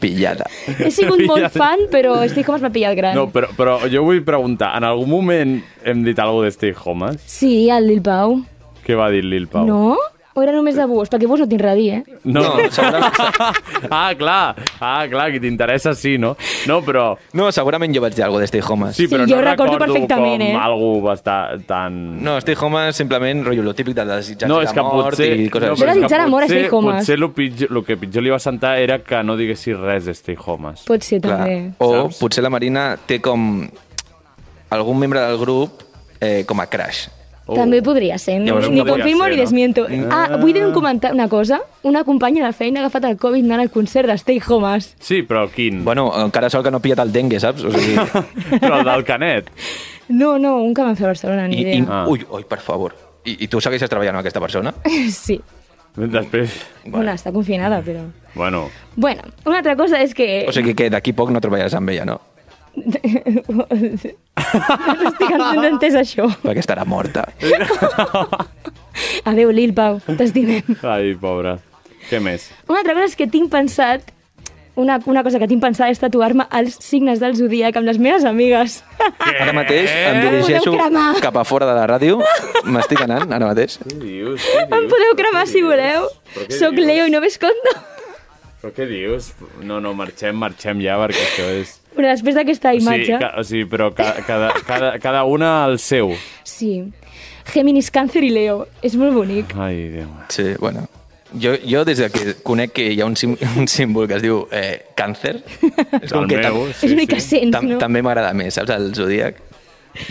[SPEAKER 6] Pillada.
[SPEAKER 1] He sigut molt fan, però Stay Homes m'ha pillat gran.
[SPEAKER 3] No, però, però jo vull preguntar, en algun moment hem dit alguna de Stay Homes?
[SPEAKER 1] Sí, el Lil Pau.
[SPEAKER 3] Què va dir Lil Pau?
[SPEAKER 1] No? O era només de vos? Perquè vos no tinc res a dir, eh?
[SPEAKER 3] No, segurament... ah, clar, ah, clar, que t'interessa sí, no? No, però...
[SPEAKER 6] No, segurament jo vaig dir alguna de Stay Homes.
[SPEAKER 3] Sí, però
[SPEAKER 1] jo
[SPEAKER 3] no
[SPEAKER 1] recordo
[SPEAKER 3] recordo,
[SPEAKER 1] perfectament,
[SPEAKER 3] com
[SPEAKER 1] eh?
[SPEAKER 3] algú va estar tan...
[SPEAKER 6] No, Stay Homes simplement, rotllo, lo típic de desitjar
[SPEAKER 3] No,
[SPEAKER 6] la
[SPEAKER 3] és que
[SPEAKER 6] mort
[SPEAKER 3] potser...
[SPEAKER 6] i
[SPEAKER 1] així.
[SPEAKER 3] no,
[SPEAKER 6] coses
[SPEAKER 1] Jo
[SPEAKER 3] però és que
[SPEAKER 1] desitjar la mort a
[SPEAKER 3] potser-
[SPEAKER 1] Stay Homes.
[SPEAKER 3] Potser el, pitjor, el que pitjor li va sentar era que no diguessis res de Stay Homes.
[SPEAKER 1] Pot ser,
[SPEAKER 6] Clar. Oh,
[SPEAKER 1] també.
[SPEAKER 6] O potser la Marina té com eh, algun membre del grup eh, com a crush.
[SPEAKER 1] També podria ser. No?
[SPEAKER 6] oh. Llavors,
[SPEAKER 1] Ni
[SPEAKER 6] no podria
[SPEAKER 1] confirmo
[SPEAKER 6] ser,
[SPEAKER 1] ni
[SPEAKER 6] no?
[SPEAKER 1] desmiento. Ah, vull dir un comentar una cosa. Una companya de feina ha agafat el Covid anant al concert de Stay Homes.
[SPEAKER 3] Sí, però quin?
[SPEAKER 6] Bueno, encara sol que no ha pillat el dengue, saps? O sigui,
[SPEAKER 3] però el del Canet.
[SPEAKER 1] No, no, un que van fer a Barcelona, ni
[SPEAKER 6] I, i,
[SPEAKER 1] idea.
[SPEAKER 6] ah. Ui, ui, per favor. I, I tu segueixes treballant amb aquesta persona?
[SPEAKER 1] Sí.
[SPEAKER 3] Després...
[SPEAKER 1] Bueno, està confinada, però...
[SPEAKER 3] Bueno,
[SPEAKER 1] Bueno, una altra cosa és que...
[SPEAKER 6] O sigui que d'aquí poc no treballaràs amb ella, no?
[SPEAKER 1] no estic no he entès això.
[SPEAKER 6] Perquè estarà morta.
[SPEAKER 3] Eh?
[SPEAKER 1] Adéu, Lil Pau, t'estimem.
[SPEAKER 3] ai, pobra. Què més?
[SPEAKER 1] Una altra cosa és que tinc pensat... Una, una cosa que tinc pensat és tatuar-me els signes del Zodíac amb les meves amigues.
[SPEAKER 6] Ara mateix
[SPEAKER 3] Eh?
[SPEAKER 6] em
[SPEAKER 1] Em
[SPEAKER 6] dirigeixo
[SPEAKER 1] voleu cremar.
[SPEAKER 6] cap a fora de la ràdio. M'estic anant, ara mateix.
[SPEAKER 3] Dius,
[SPEAKER 1] Em podeu cremar si voleu.
[SPEAKER 3] Però què
[SPEAKER 1] Soc
[SPEAKER 3] dius?
[SPEAKER 1] Leo i no m'escondo.
[SPEAKER 3] Però què dius? No, no, marxem, marxem ja, perquè això és...
[SPEAKER 1] Però després d'aquesta
[SPEAKER 3] Sí,
[SPEAKER 1] imatge...
[SPEAKER 3] ca, o sigui, però ca, cada, cada, cada una al seu.
[SPEAKER 1] Sí. Géminis, Càncer i Leo. És molt bonic.
[SPEAKER 3] Ai, Déu.
[SPEAKER 6] Sí, bueno. Jo, jo des de que conec que hi ha un, sim, un símbol que es diu eh, càncer, és
[SPEAKER 3] El meu,
[SPEAKER 6] tam-
[SPEAKER 1] sí, És l'únic que sí. sents, no?
[SPEAKER 6] També m'agrada més, saps, el zodíac.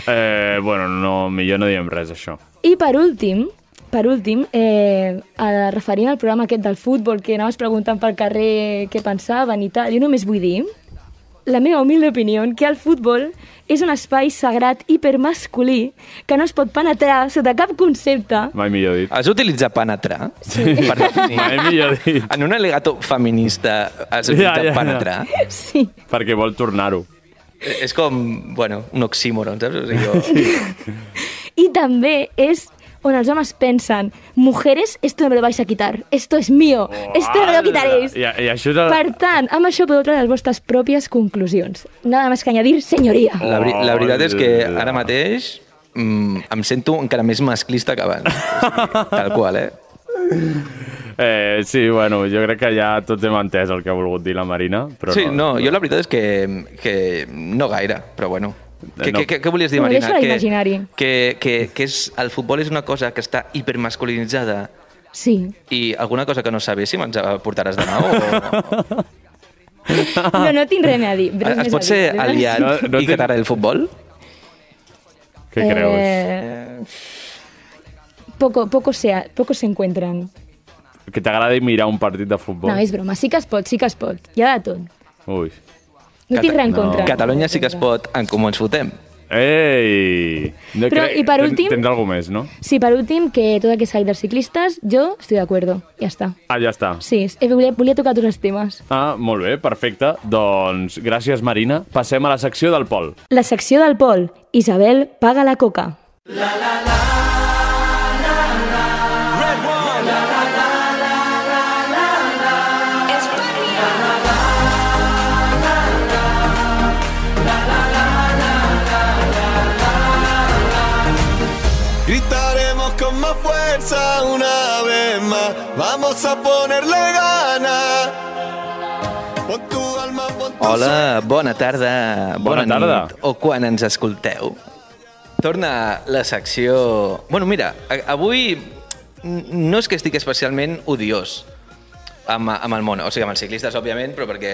[SPEAKER 3] Eh, bueno, no, millor no diem res, això.
[SPEAKER 1] I per últim, per últim, eh, a, referint al programa aquest del futbol, que anaves preguntant pel carrer què pensaven i tal, jo només vull dir la meva humil opinió que el futbol és un espai sagrat hipermasculí que no es pot penetrar sota cap concepte.
[SPEAKER 6] Mai millor dit. Has utilitzat penetrar? Sí. Per definir?
[SPEAKER 3] Mai millor dit.
[SPEAKER 6] En un alegato feminista has
[SPEAKER 3] Ja,
[SPEAKER 6] utilitzat
[SPEAKER 3] ja, ja.
[SPEAKER 6] penetrar?
[SPEAKER 1] Sí.
[SPEAKER 3] Perquè vol tornar-ho.
[SPEAKER 6] És com, bueno, un oxímoron, saps? O sigui, jo...
[SPEAKER 1] I també és on els homes pensen mujeres, esto no me lo vais a quitar, esto es mío, esto no me lo quitaréis.
[SPEAKER 3] I, i això és... El...
[SPEAKER 1] Per tant, amb això podeu treure les vostres pròpies conclusions. Nada més que añadir, senyoria.
[SPEAKER 6] La, veri la veritat és que
[SPEAKER 3] Oh.
[SPEAKER 6] ara mateix mm, em sento encara més masclista que abans. O sigui, Tal qual, eh?
[SPEAKER 3] Eh, sí, bueno, jo crec que ja tots hem entès el que ha volgut dir la Marina, però
[SPEAKER 6] sí,
[SPEAKER 3] no.
[SPEAKER 6] no, jo la veritat és que, que no gaire, però bueno. Què,
[SPEAKER 3] no.
[SPEAKER 6] què, què, què volies dir,
[SPEAKER 1] Ho
[SPEAKER 6] Marina?
[SPEAKER 1] deixo a
[SPEAKER 6] Que,
[SPEAKER 1] l'imaginari.
[SPEAKER 6] que, que, que és, el futbol és una cosa que està hipermasculinitzada
[SPEAKER 1] Sí.
[SPEAKER 6] i alguna cosa que no sabéssim ens la portaràs de nou? O...
[SPEAKER 1] No, no tinc res més a dir. res
[SPEAKER 6] Es
[SPEAKER 1] més
[SPEAKER 6] pot
[SPEAKER 1] a
[SPEAKER 6] ser
[SPEAKER 1] dir.
[SPEAKER 6] aliat no, no i que t'agradi el futbol?
[SPEAKER 3] Què
[SPEAKER 1] Eh, poco, poco, se, poco se encuentran.
[SPEAKER 3] Que t'agradi mirar un partit de futbol.
[SPEAKER 1] No, és broma. Sí que es pot, sí que es pot. Hi ha de tot.
[SPEAKER 3] Ui.
[SPEAKER 1] No tinc res en contra.
[SPEAKER 6] Catalunya sí que es pot en comú ens fotem.
[SPEAKER 3] Ei! No
[SPEAKER 1] Però,
[SPEAKER 3] crec-
[SPEAKER 1] i per
[SPEAKER 3] ten-
[SPEAKER 1] últim-
[SPEAKER 3] Tens alguna més, no?
[SPEAKER 1] Sí, per últim, que tot aquest site dels ciclistes, jo estic d'acord. Ja està.
[SPEAKER 3] Ah, ja està.
[SPEAKER 1] Sí, eh, volia, volia tocar tots els temes.
[SPEAKER 3] Ah, molt bé, perfecte. Doncs gràcies, Marina. Passem a la secció del Pol.
[SPEAKER 1] La secció del Pol. Isabel paga la coca.
[SPEAKER 9] Gritaremos con más fuerza una vez más. Vamos a ponerle gana. Pon tu alma, pon tu
[SPEAKER 6] Hola, bona tarda, bona,
[SPEAKER 3] Bona tarda.
[SPEAKER 6] nit, o quan ens escolteu. Torna la secció... Bueno, mira, a- avui n- no és que estic especialment odiós amb, amb el món, o sigui, amb els ciclistes, òbviament, però perquè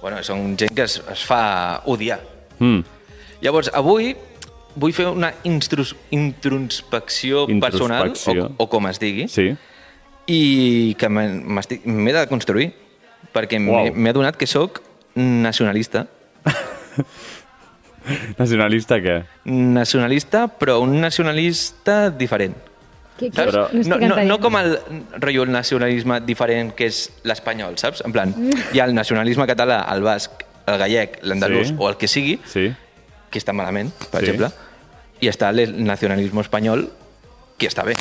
[SPEAKER 6] bueno, són gent que es, es fa odiar.
[SPEAKER 3] Mm.
[SPEAKER 6] Llavors, avui vull fer una instrus, introspecció personal, o,
[SPEAKER 3] Introspecció.
[SPEAKER 6] o com es digui,
[SPEAKER 3] sí.
[SPEAKER 6] i que me- m'estic- m'he de construir, perquè m'he
[SPEAKER 3] Uau.
[SPEAKER 6] m'he adonat que sóc nacionalista.
[SPEAKER 3] Nacionalista, què?
[SPEAKER 6] Nacionalista, però un nacionalista diferent.
[SPEAKER 1] Que,
[SPEAKER 6] Saps?
[SPEAKER 3] Però-
[SPEAKER 6] No, no, no com el rotllo el nacionalisme diferent que és l'espanyol, saps? En plan, hi ha el nacionalisme català, el basc, el gallec, l'andalús
[SPEAKER 3] Sí.
[SPEAKER 6] sí. o el que sigui,
[SPEAKER 3] sí.
[SPEAKER 6] que està malament, per
[SPEAKER 3] Sí.
[SPEAKER 6] sí. exemple, i està el nacionalisme espanyol, que està bé,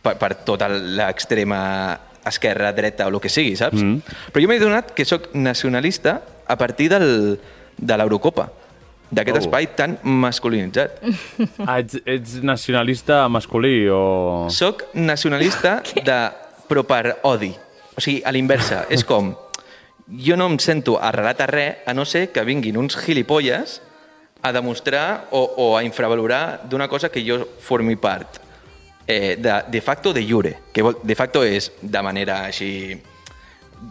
[SPEAKER 6] per, per tota l'extrema esquerra, dreta o el que sigui, saps?
[SPEAKER 3] Mm.
[SPEAKER 6] Mm. Però jo m'he donat que sóc nacionalista a partir del, de l'Eurocopa, d'aquest
[SPEAKER 3] Oh.
[SPEAKER 6] oh. espai tan masculinitzat.
[SPEAKER 3] Ah, ets, ets nacionalista masculí o...
[SPEAKER 6] Soc nacionalista de, però per odi. O sigui, a l'inversa. És com, jo no em sento arrelat a res, a no ser que vinguin uns gilipolles a demostrar o, o a infravalorar d'una cosa que jo formi part. Eh, de, de facto de jure. Que vol, de facto és de manera així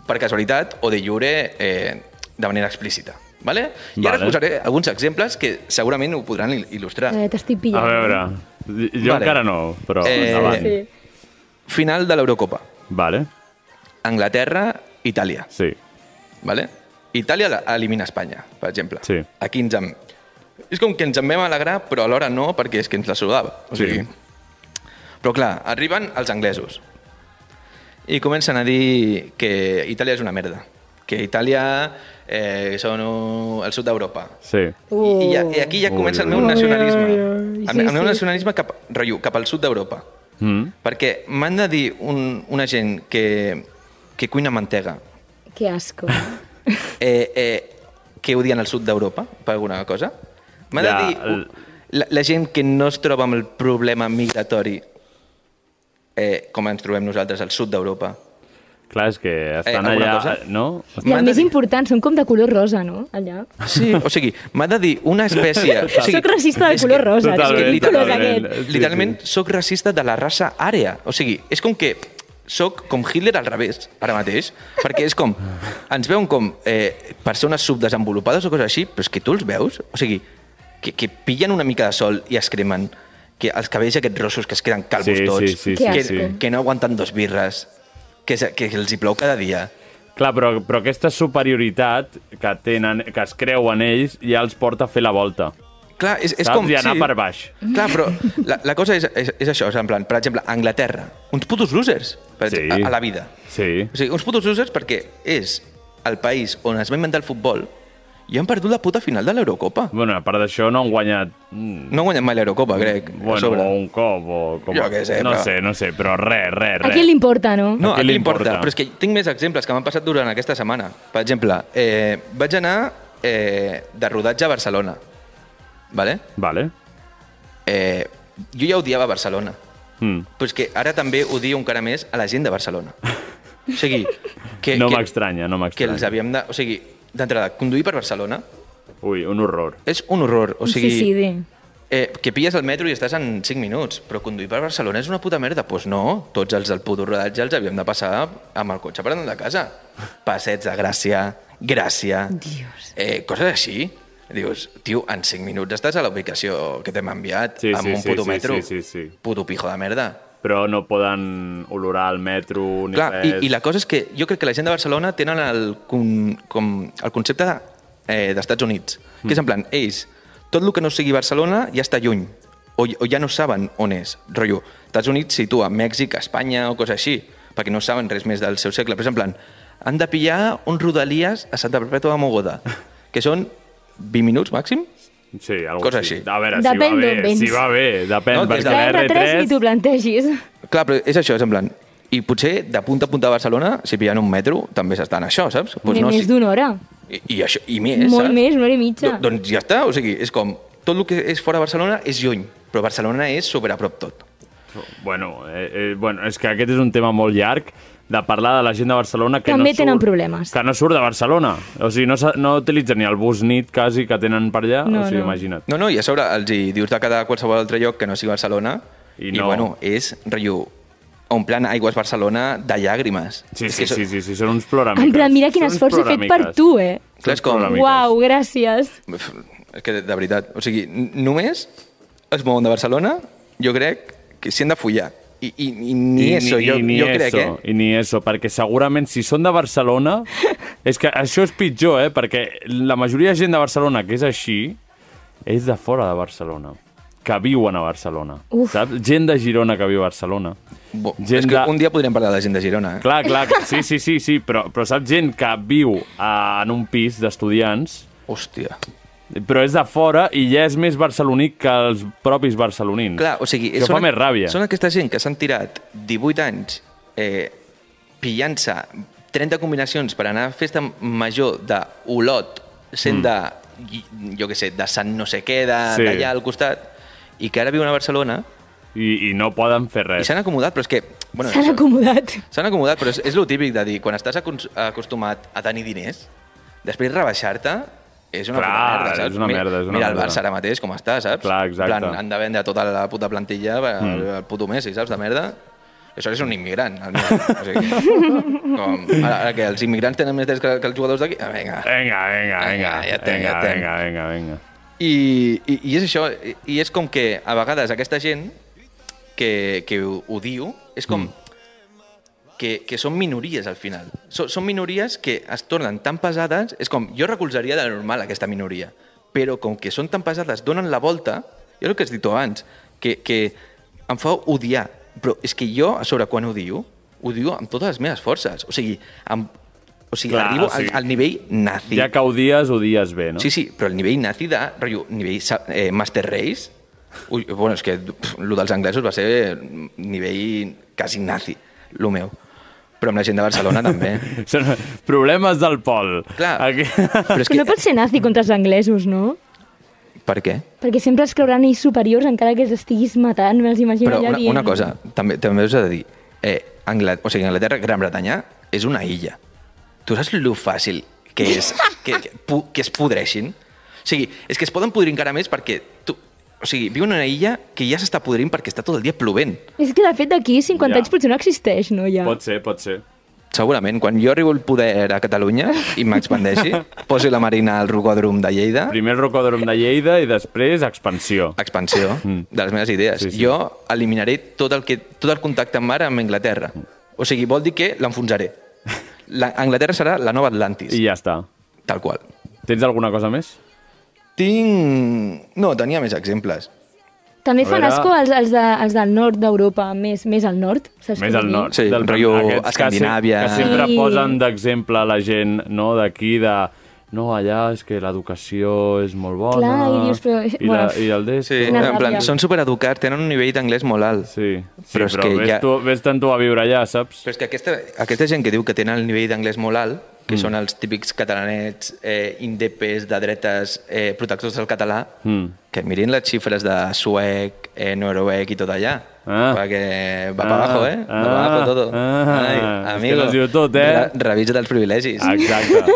[SPEAKER 6] per casualitat o de jure eh, de manera explícita. Vale? I ara
[SPEAKER 3] Vale.
[SPEAKER 6] us posaré alguns exemples que segurament ho podran il- il·lustrar.
[SPEAKER 1] Eh, T'estic pillant.
[SPEAKER 3] A veure, jo
[SPEAKER 6] Vale.
[SPEAKER 3] vale. encara no, però eh...
[SPEAKER 6] Eh,
[SPEAKER 3] avant.
[SPEAKER 1] Sí.
[SPEAKER 6] Final de l'Eurocopa.
[SPEAKER 3] Vale,
[SPEAKER 6] Anglaterra, Itàlia.
[SPEAKER 3] sí,
[SPEAKER 6] Vale? Itàlia la- elimina Espanya, per exemple.
[SPEAKER 3] Sí.
[SPEAKER 6] Aquí ens en... És com que ens en vam alegrar, però alhora no, perquè és que ens la sudava. O
[SPEAKER 3] Sí.
[SPEAKER 6] sigui... Però clar, arriben els anglesos i comencen a dir que Itàlia és una merda, que Itàlia eh, són un- el sud d'Europa.
[SPEAKER 3] sí.
[SPEAKER 6] I, i, ja, I aquí ja
[SPEAKER 3] Ui,
[SPEAKER 6] comença el meu
[SPEAKER 3] ui, ui.
[SPEAKER 6] nacionalisme. El,
[SPEAKER 1] Sí,
[SPEAKER 6] el meu
[SPEAKER 1] sí.
[SPEAKER 6] nacionalisme cap, rotllo, cap al sud d'Europa.
[SPEAKER 3] Mm.
[SPEAKER 6] Perquè m'han de dir un, una gent que, que cuina mantega,
[SPEAKER 1] Que asco.
[SPEAKER 6] eh, eh, que odien el sud d'Europa per alguna cosa.
[SPEAKER 3] Ja,
[SPEAKER 6] M'ha de dir
[SPEAKER 3] el-
[SPEAKER 6] la, la gent que no es troba amb el problema migratori eh, com ens trobem nosaltres al sud d'Europa.
[SPEAKER 3] Clar, és que
[SPEAKER 1] Eh,
[SPEAKER 3] estan
[SPEAKER 6] alguna
[SPEAKER 3] allà,
[SPEAKER 6] cosa?
[SPEAKER 3] no?
[SPEAKER 1] I el
[SPEAKER 6] M'han de
[SPEAKER 1] més
[SPEAKER 6] dir-
[SPEAKER 1] important, són com de color rosa, no? Allà.
[SPEAKER 6] Ah, Sí, o sigui, m'ha de dir una espècie... O sigui,
[SPEAKER 1] Soc racista de
[SPEAKER 6] és
[SPEAKER 1] color rosa, és que
[SPEAKER 3] Totalment,
[SPEAKER 1] color
[SPEAKER 3] totalment.
[SPEAKER 1] aquest.
[SPEAKER 3] Sí, sí.
[SPEAKER 6] literalment sóc racista de la raça àrea. O sigui, és com que sóc com Hitler al revés, ara mateix, perquè és com, ens veuen com eh, persones subdesenvolupades o coses així, però és que tu els veus, o sigui, que, que pillen una mica de sol i es cremen, que els cabells aquests rossos que es queden calvos
[SPEAKER 3] Sí, sí,
[SPEAKER 6] tots,
[SPEAKER 1] sí,
[SPEAKER 3] sí,
[SPEAKER 6] que,
[SPEAKER 1] sí.
[SPEAKER 6] que no aguanten dos birres, que, se- que els hi plou cada dia,
[SPEAKER 3] Clar, però, però aquesta superioritat que, tenen, que es creuen ells ja els porta a fer la volta.
[SPEAKER 6] Clar, és, és
[SPEAKER 3] Saps?
[SPEAKER 6] com...
[SPEAKER 3] I anar per baix.
[SPEAKER 6] Clar, però la, la cosa és, és, és això, és en plan, per exemple, Anglaterra, uns putos losers per, sí. a, a la vida.
[SPEAKER 3] Sí.
[SPEAKER 6] O sigui, uns putos losers perquè és el país on es va inventar el futbol i han perdut la puta final de l'Eurocopa.
[SPEAKER 3] Bueno, a part d'això, no han guanyat... No
[SPEAKER 6] han guanyat mai l'Eurocopa, crec.
[SPEAKER 3] Bueno,
[SPEAKER 6] a sobre.
[SPEAKER 3] o un cop, o... Com...
[SPEAKER 6] Jo què sé,
[SPEAKER 3] no
[SPEAKER 6] però-
[SPEAKER 3] sé, no sé, però res, res,
[SPEAKER 1] A
[SPEAKER 3] res.
[SPEAKER 1] qui li importa, no?
[SPEAKER 6] No,
[SPEAKER 3] A qui
[SPEAKER 6] aquí
[SPEAKER 3] li
[SPEAKER 6] l'importa.
[SPEAKER 3] importa?
[SPEAKER 6] Però és que tinc més exemples que m'han passat durant aquesta setmana. Per exemple, eh, vaig anar eh, de rodatge a Barcelona. Vale?
[SPEAKER 3] Vale.
[SPEAKER 6] Eh, jo ja odiava Barcelona.
[SPEAKER 3] Mm.
[SPEAKER 6] Però és que ara també odio encara més a la gent de Barcelona. O sigui, que,
[SPEAKER 3] no
[SPEAKER 6] que,
[SPEAKER 3] m'estranya, no
[SPEAKER 6] que
[SPEAKER 3] m'estranya.
[SPEAKER 6] els havíem de... O sigui, d'entrada, conduir per Barcelona
[SPEAKER 3] Ui, un horror.
[SPEAKER 6] és un horror. O sigui,
[SPEAKER 1] Sí, sí, de...
[SPEAKER 6] Eh, que pilles el metro i estàs en 5 minuts, però conduir per Barcelona és una puta merda. Doncs pues no, tots els del puto rodatge els havíem de passar amb el cotxe per anar de casa. Passets de Gràcia, Gràcia, Dios. Eh, coses així. Dius, tio, en 5 minuts estàs a la ubicació que t'hem enviat
[SPEAKER 3] Sí,
[SPEAKER 6] amb
[SPEAKER 3] sí,
[SPEAKER 6] un
[SPEAKER 3] sí,
[SPEAKER 6] puto
[SPEAKER 3] sí,
[SPEAKER 6] metro.
[SPEAKER 3] sí, sí, sí.
[SPEAKER 6] Puto pijo de merda.
[SPEAKER 3] Però no poden olorar el metro ni
[SPEAKER 6] Clar,
[SPEAKER 3] res.
[SPEAKER 6] i, i la cosa és que jo crec que la gent de Barcelona tenen el, com, com el concepte de, eh, d'Estats Units, que és en plan, ells, tot el que no sigui Barcelona ja està lluny, o, o ja no saben on és. Rotllo, Estats Units situa Mèxic, Espanya o coses així, perquè no saben res més del seu segle. Però és en plan, han de pillar un rodalies a Santa Perpètua de Mogoda, que són 20 minuts màxim,
[SPEAKER 3] Sí, algo
[SPEAKER 6] coses
[SPEAKER 3] així.
[SPEAKER 6] així.
[SPEAKER 3] A veure,
[SPEAKER 1] Depèn
[SPEAKER 3] si va
[SPEAKER 1] d'on
[SPEAKER 3] bé,
[SPEAKER 1] vens.
[SPEAKER 3] si va bé, depèn,
[SPEAKER 6] No,
[SPEAKER 3] no,
[SPEAKER 6] des de
[SPEAKER 3] perquè la
[SPEAKER 1] R3,
[SPEAKER 3] R3...
[SPEAKER 1] ni t'ho plantegis.
[SPEAKER 6] Clar, però és això, és en plan... I potser de punta a punta de Barcelona, si pillen un metro, també s'està en això, saps? Doncs
[SPEAKER 1] Pues no, més
[SPEAKER 6] si-
[SPEAKER 1] d'una hora.
[SPEAKER 6] I, i, això, i més,
[SPEAKER 1] Molt
[SPEAKER 6] saps?
[SPEAKER 1] més, una hora i mitja.
[SPEAKER 6] Do, doncs ja està, o sigui, és com... Tot el que és fora de Barcelona és lluny, però Barcelona és sobre a prop tot.
[SPEAKER 3] Bueno, eh, eh, bueno, és que aquest és un tema molt llarg de parlar de la gent de Barcelona que
[SPEAKER 1] També
[SPEAKER 3] no surt,
[SPEAKER 1] tenen problemes.
[SPEAKER 3] Que no surt de Barcelona. O sigui, no, s'ha- no utilitzen ni el bus nit quasi que tenen per allà.
[SPEAKER 1] No,
[SPEAKER 3] o sigui,
[SPEAKER 1] no.
[SPEAKER 3] imagina't.
[SPEAKER 6] No, no, i a sobre els hi dius de quedar a qualsevol altre lloc que no sigui Barcelona
[SPEAKER 3] I
[SPEAKER 6] i,
[SPEAKER 3] no.
[SPEAKER 6] i bueno, és, rotllo, un plan Aigües Barcelona de llàgrimes.
[SPEAKER 3] Sí,
[SPEAKER 6] És
[SPEAKER 3] sí,
[SPEAKER 6] que so-
[SPEAKER 3] sí, sí, sí, són uns ploramiques.
[SPEAKER 1] En plan, mira quin
[SPEAKER 3] Són uns
[SPEAKER 1] esforç he fet per
[SPEAKER 3] ploramiques.
[SPEAKER 1] tu, eh?
[SPEAKER 6] Clar, és com...
[SPEAKER 3] Ploramiques.
[SPEAKER 1] Uau, gràcies.
[SPEAKER 6] Uf, És que, de, de veritat, o sigui, n- només es mouen de Barcelona, jo crec que s'hi han de follar. I, i, i ni eso, jo,
[SPEAKER 3] ni
[SPEAKER 6] jo crec,
[SPEAKER 3] eso,
[SPEAKER 6] eh?
[SPEAKER 3] I ni eso, perquè segurament si són de Barcelona... és que això és pitjor, eh? Perquè la majoria de gent de Barcelona que és així és de fora de Barcelona, que viuen a Barcelona.
[SPEAKER 1] Uf.
[SPEAKER 3] Saps? Gent de Girona que viu a Barcelona.
[SPEAKER 6] Bo,
[SPEAKER 3] gent
[SPEAKER 6] és que
[SPEAKER 3] de-
[SPEAKER 6] un dia podríem parlar de gent de Girona, eh?
[SPEAKER 3] Clar, clar, sí, sí, sí, sí però, però saps gent que viu a, en un pis d'estudiants,
[SPEAKER 6] Hòstia.
[SPEAKER 3] però és de fora i ja és més barceloní que els propis barcelonins.
[SPEAKER 6] Clar, o sigui...
[SPEAKER 3] Això fa més ràbia.
[SPEAKER 6] Són aquesta gent que s'han tirat 18 anys eh, pillant-se 30 combinacions per anar a festa major d'Olot, sent mm. de, i- jo què sé, de Sant no sé què, de-
[SPEAKER 3] Sí.
[SPEAKER 6] d'allà sí. al costat, i que ara viuen a Barcelona
[SPEAKER 3] I, I no poden fer
[SPEAKER 6] i
[SPEAKER 3] res.
[SPEAKER 6] s'han acomodat, però és que... Bueno,
[SPEAKER 1] S'han acomodat.
[SPEAKER 6] S'han acomodat, però és, és lo típic de dir, quan estàs acons- acostumat a tenir diners, després rebaixar-te és una
[SPEAKER 3] Clar,
[SPEAKER 6] puta merda, saps?
[SPEAKER 3] és una
[SPEAKER 6] Mi-
[SPEAKER 3] merda, és una
[SPEAKER 6] Mira
[SPEAKER 3] merda.
[SPEAKER 6] el Barça ara mateix com està, saps?
[SPEAKER 3] Clar, exacte.
[SPEAKER 6] En Plan, han de vendre tota la puta plantilla per mm. el puto Messi, saps? De merda. Això és un immigrant. Al meu. o sigui, com, ara, ara que els immigrants tenen més drets que, que els jugadors d'aquí? Ah, vinga.
[SPEAKER 3] Vinga, vinga, vinga.
[SPEAKER 6] Ja
[SPEAKER 3] vinga,
[SPEAKER 6] tenc, ja tenc.
[SPEAKER 3] vinga, vinga, vinga.
[SPEAKER 6] I, i, I és això, i- i és com que a vegades aquesta gent que, que ho, ho diu, és com mm. que, que són minories al final. So, són minories que es tornen tan pesades, és com, jo recolzaria de normal aquesta minoria, però com que són tan pesades, donen la volta, jo el que has dit tu abans, que, que em fa odiar, però és que jo, a sobre quan odio, odio amb totes les meves forces. O sigui, amb, o sigui
[SPEAKER 3] Clar,
[SPEAKER 6] Clar, arribo
[SPEAKER 3] o sigui,
[SPEAKER 6] al, al nivell nazi.
[SPEAKER 3] Ja que ho dies, ho dies bé, no?
[SPEAKER 6] Sí, sí, però el nivell nazi de, rotllo, nivell sa- eh, Master Race, ui, bueno, és que pff, lo dels anglesos va ser nivell quasi nazi, lo meu. Però amb la gent de Barcelona també.
[SPEAKER 3] Són problemes del Pol.
[SPEAKER 6] Clar,
[SPEAKER 3] Aquí...
[SPEAKER 6] però és
[SPEAKER 1] Que
[SPEAKER 6] que...
[SPEAKER 1] no pots ser nazi contra els anglesos, no?
[SPEAKER 6] Per què?
[SPEAKER 1] Perquè sempre es creuran ells superiors encara que els estiguis matant, me'ls imagino
[SPEAKER 6] Però
[SPEAKER 1] allà
[SPEAKER 6] una,
[SPEAKER 1] dient.
[SPEAKER 6] una cosa, també, també us he de dir, eh, Angla... o sigui, Anglaterra, Gran Bretanya, és una illa. Tu saps lo fàcil que és que, que, pu- que es podreixin? O sigui, és que es poden podrir encara més perquè tu... O sigui, viuen en una illa que ja s'està podrint perquè està tot el dia plovent.
[SPEAKER 1] És que, de fet, d'aquí 50
[SPEAKER 3] Ja.
[SPEAKER 1] anys potser no existeix, no, ja?
[SPEAKER 3] Pot ser, pot ser.
[SPEAKER 6] Segurament, quan jo arribo al poder a Catalunya i m'expandeixi, posi la Marina al rocòdrom de Lleida,
[SPEAKER 3] Primer el rocòdrom de Lleida i després expansió.
[SPEAKER 6] expansió de les meves idees.
[SPEAKER 3] Sí,
[SPEAKER 6] Mm. Sí,
[SPEAKER 3] sí.
[SPEAKER 6] sí. Jo Mm. eliminaré tot el, que, tot el contacte amb mar amb Anglaterra. O sigui, vol dir que l'enfonsaré. la- Anglaterra serà la nova Atlantis.
[SPEAKER 3] I ja està.
[SPEAKER 6] Tal qual.
[SPEAKER 3] Tens alguna cosa més?
[SPEAKER 6] Tinc... No, tenia més exemples.
[SPEAKER 1] També
[SPEAKER 6] A
[SPEAKER 1] fan
[SPEAKER 6] veure-
[SPEAKER 1] asco els, els, de, els del nord d'Europa, més, més al nord. Saps
[SPEAKER 3] Més
[SPEAKER 1] què
[SPEAKER 3] al
[SPEAKER 1] vull dir?
[SPEAKER 3] nord.
[SPEAKER 6] Sí,
[SPEAKER 3] del
[SPEAKER 6] rotllo
[SPEAKER 3] aquests que se-
[SPEAKER 6] Escandinàvia.
[SPEAKER 3] Que sempre
[SPEAKER 1] Sí.
[SPEAKER 3] posen d'exemple la gent no, d'aquí de... No, allà és que l'educació és molt bona.
[SPEAKER 1] Clar, i dius, però-
[SPEAKER 3] I,
[SPEAKER 1] bueno,
[SPEAKER 3] la, i el d'esto...
[SPEAKER 6] Sí,
[SPEAKER 1] Quina
[SPEAKER 6] en plan,
[SPEAKER 1] ràbia.
[SPEAKER 6] són supereducats, tenen un nivell d'anglès molt alt.
[SPEAKER 3] Sí, sí
[SPEAKER 6] però, és que
[SPEAKER 3] vés,
[SPEAKER 6] ja...
[SPEAKER 3] tu, vés tant tu a viure allà, saps?
[SPEAKER 6] però és que aquesta, aquesta gent que diu que tenen el nivell d'anglès molt alt,
[SPEAKER 3] Mm.
[SPEAKER 6] que són els típics catalanets eh, indepes, de dretes, eh, protectors del català,
[SPEAKER 3] Mm.
[SPEAKER 6] que mirin les xifres de suec, eh, noruec i tot allà.
[SPEAKER 3] Ah.
[SPEAKER 6] Perquè va
[SPEAKER 3] Ah,
[SPEAKER 6] pa abajo, eh? Va pa
[SPEAKER 3] ah,
[SPEAKER 6] abajo todo.
[SPEAKER 3] ah, és que
[SPEAKER 6] amigo,
[SPEAKER 3] les diu tot, eh?
[SPEAKER 6] re- Revisa't els privilegis.
[SPEAKER 3] Exacte.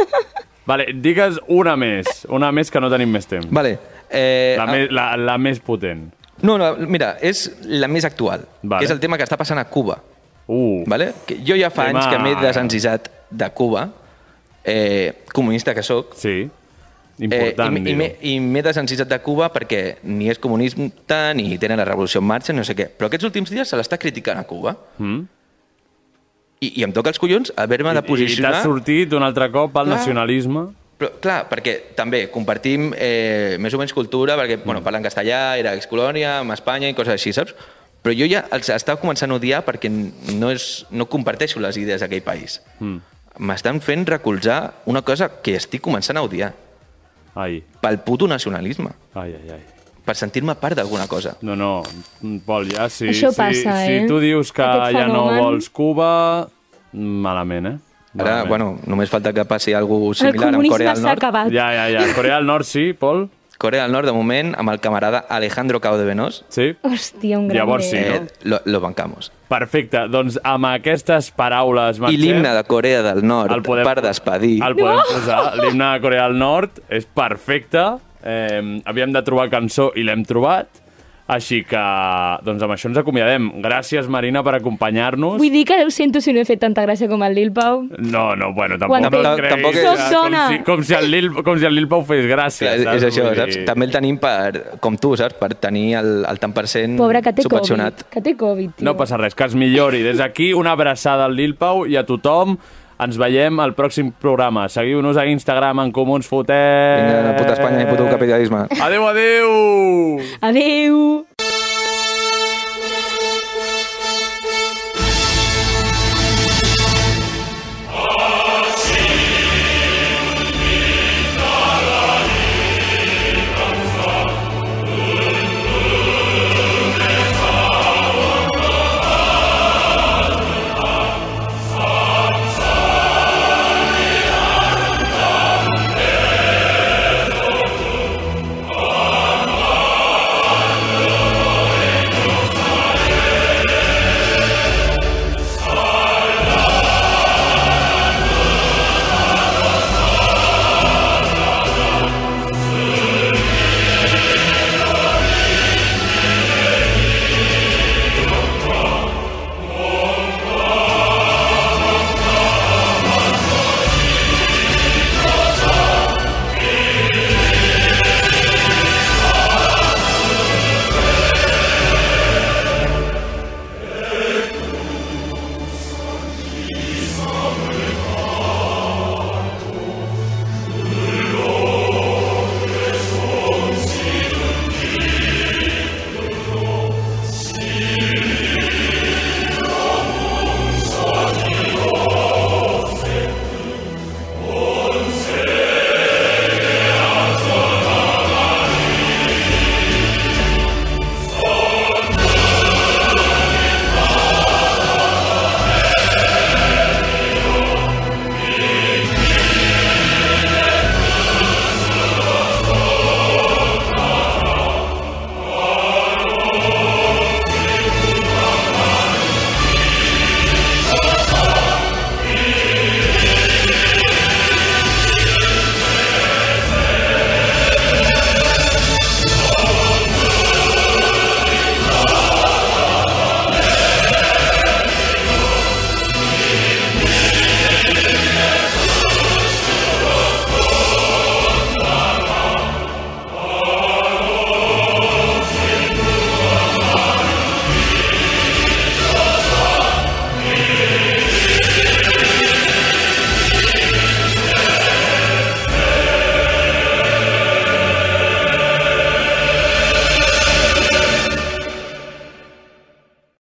[SPEAKER 3] vale, digues una més. Una més que no tenim més temps.
[SPEAKER 6] Vale. Eh,
[SPEAKER 3] La, me, la, la més potent.
[SPEAKER 6] No, no, mira, és la més actual,
[SPEAKER 3] Vale.
[SPEAKER 6] vale. que és el tema que està passant a Cuba.
[SPEAKER 3] Uh,
[SPEAKER 6] Vale? Que jo ja fa
[SPEAKER 3] Tema-
[SPEAKER 6] anys que m'he desencisat de Cuba, eh, comunista que sóc.
[SPEAKER 3] Sí, important
[SPEAKER 6] eh, i- i
[SPEAKER 3] dir-ho.
[SPEAKER 6] m'he- I m'he desencisat de Cuba perquè ni és comunista, ni tenen la revolució en marxa, no sé què. Però aquests últims dies se l'està criticant a Cuba.
[SPEAKER 3] Mm?
[SPEAKER 6] I, I em toca els collons haver-me de
[SPEAKER 3] I t'has
[SPEAKER 6] posicionar...
[SPEAKER 3] sortit un altre cop al
[SPEAKER 6] Clar.
[SPEAKER 3] nacionalisme.
[SPEAKER 6] Però, clar, perquè també compartim eh, més o menys cultura,
[SPEAKER 3] Mm.
[SPEAKER 6] perquè bueno, parlen castellà, era excolònia, amb Espanya i coses així, saps? Però jo ja els estava començant a odiar perquè no, és, no comparteixo les idees d'aquell país.
[SPEAKER 3] Mm.
[SPEAKER 6] M'estan fent recolzar una cosa que estic començant a odiar.
[SPEAKER 3] Ai,
[SPEAKER 6] Pel puto nacionalisme.
[SPEAKER 3] ai, ai, ai.
[SPEAKER 6] Per sentir-me part d'alguna cosa.
[SPEAKER 3] No, no, Pol, ja si,
[SPEAKER 1] Això
[SPEAKER 3] si,
[SPEAKER 1] passa,
[SPEAKER 3] si
[SPEAKER 1] eh?
[SPEAKER 3] tu dius que
[SPEAKER 1] Aquest
[SPEAKER 3] ja no
[SPEAKER 1] fenomen.
[SPEAKER 3] vols Cuba, malament, eh?
[SPEAKER 6] Ara,
[SPEAKER 3] Malament.
[SPEAKER 6] bueno, només falta que passi alguna cosa
[SPEAKER 1] El
[SPEAKER 6] similar amb Corea
[SPEAKER 1] comunisme
[SPEAKER 6] del
[SPEAKER 1] s'ha
[SPEAKER 6] Nord.
[SPEAKER 1] acabat.
[SPEAKER 3] Ja, ja, ja. Corea del Nord sí, Pol?
[SPEAKER 6] Corea del Nord, de moment, amb el camarada Alejandro Caudevenós,
[SPEAKER 3] Sí?
[SPEAKER 1] Hòstia, un gran
[SPEAKER 3] Llavors sí,
[SPEAKER 6] eh,
[SPEAKER 3] no?
[SPEAKER 6] lo, lo bancamos.
[SPEAKER 3] Perfecte, doncs amb aquestes paraules
[SPEAKER 6] I
[SPEAKER 3] marxem.
[SPEAKER 6] l'himne de Corea del Nord,
[SPEAKER 3] El podem-
[SPEAKER 6] per despedir.
[SPEAKER 3] El podem posar, l'himne de Corea del Nord, és perfecte. Eh, havíem de trobar cançó i l'hem trobat. Així que, doncs amb això ens acomiadem. Gràcies, Marina, per acompanyar-nos.
[SPEAKER 1] Vull dir que ho sento si no he fet tanta gràcia com el Lil Pau.
[SPEAKER 3] No, no, bueno,
[SPEAKER 1] Ho
[SPEAKER 3] tampoc,
[SPEAKER 1] entenc.
[SPEAKER 3] no et creguis,
[SPEAKER 6] Tampoc és-
[SPEAKER 3] saps?
[SPEAKER 1] Soc
[SPEAKER 3] com,
[SPEAKER 1] dona.
[SPEAKER 3] si, com, si el Lil, com si el Lil Pau fes gràcia.
[SPEAKER 6] Clar, és, és això,
[SPEAKER 3] Vull dir-
[SPEAKER 6] saps? També el tenim per, com tu, saps? Per tenir el, el tant per cent
[SPEAKER 1] Pobre, que té
[SPEAKER 6] subvencionat.
[SPEAKER 1] Covid. Que té Covid, tio.
[SPEAKER 3] No passa res, que es millori. Des d'aquí, una abraçada al Lil Pau i a tothom. Ens veiem al pròxim programa. Seguiu-nos a Instagram en Comuns Fotem. Eh,
[SPEAKER 6] Vinga, puta Espanya i puto capitalisme.
[SPEAKER 3] Adéu, adéu!
[SPEAKER 1] Adéu!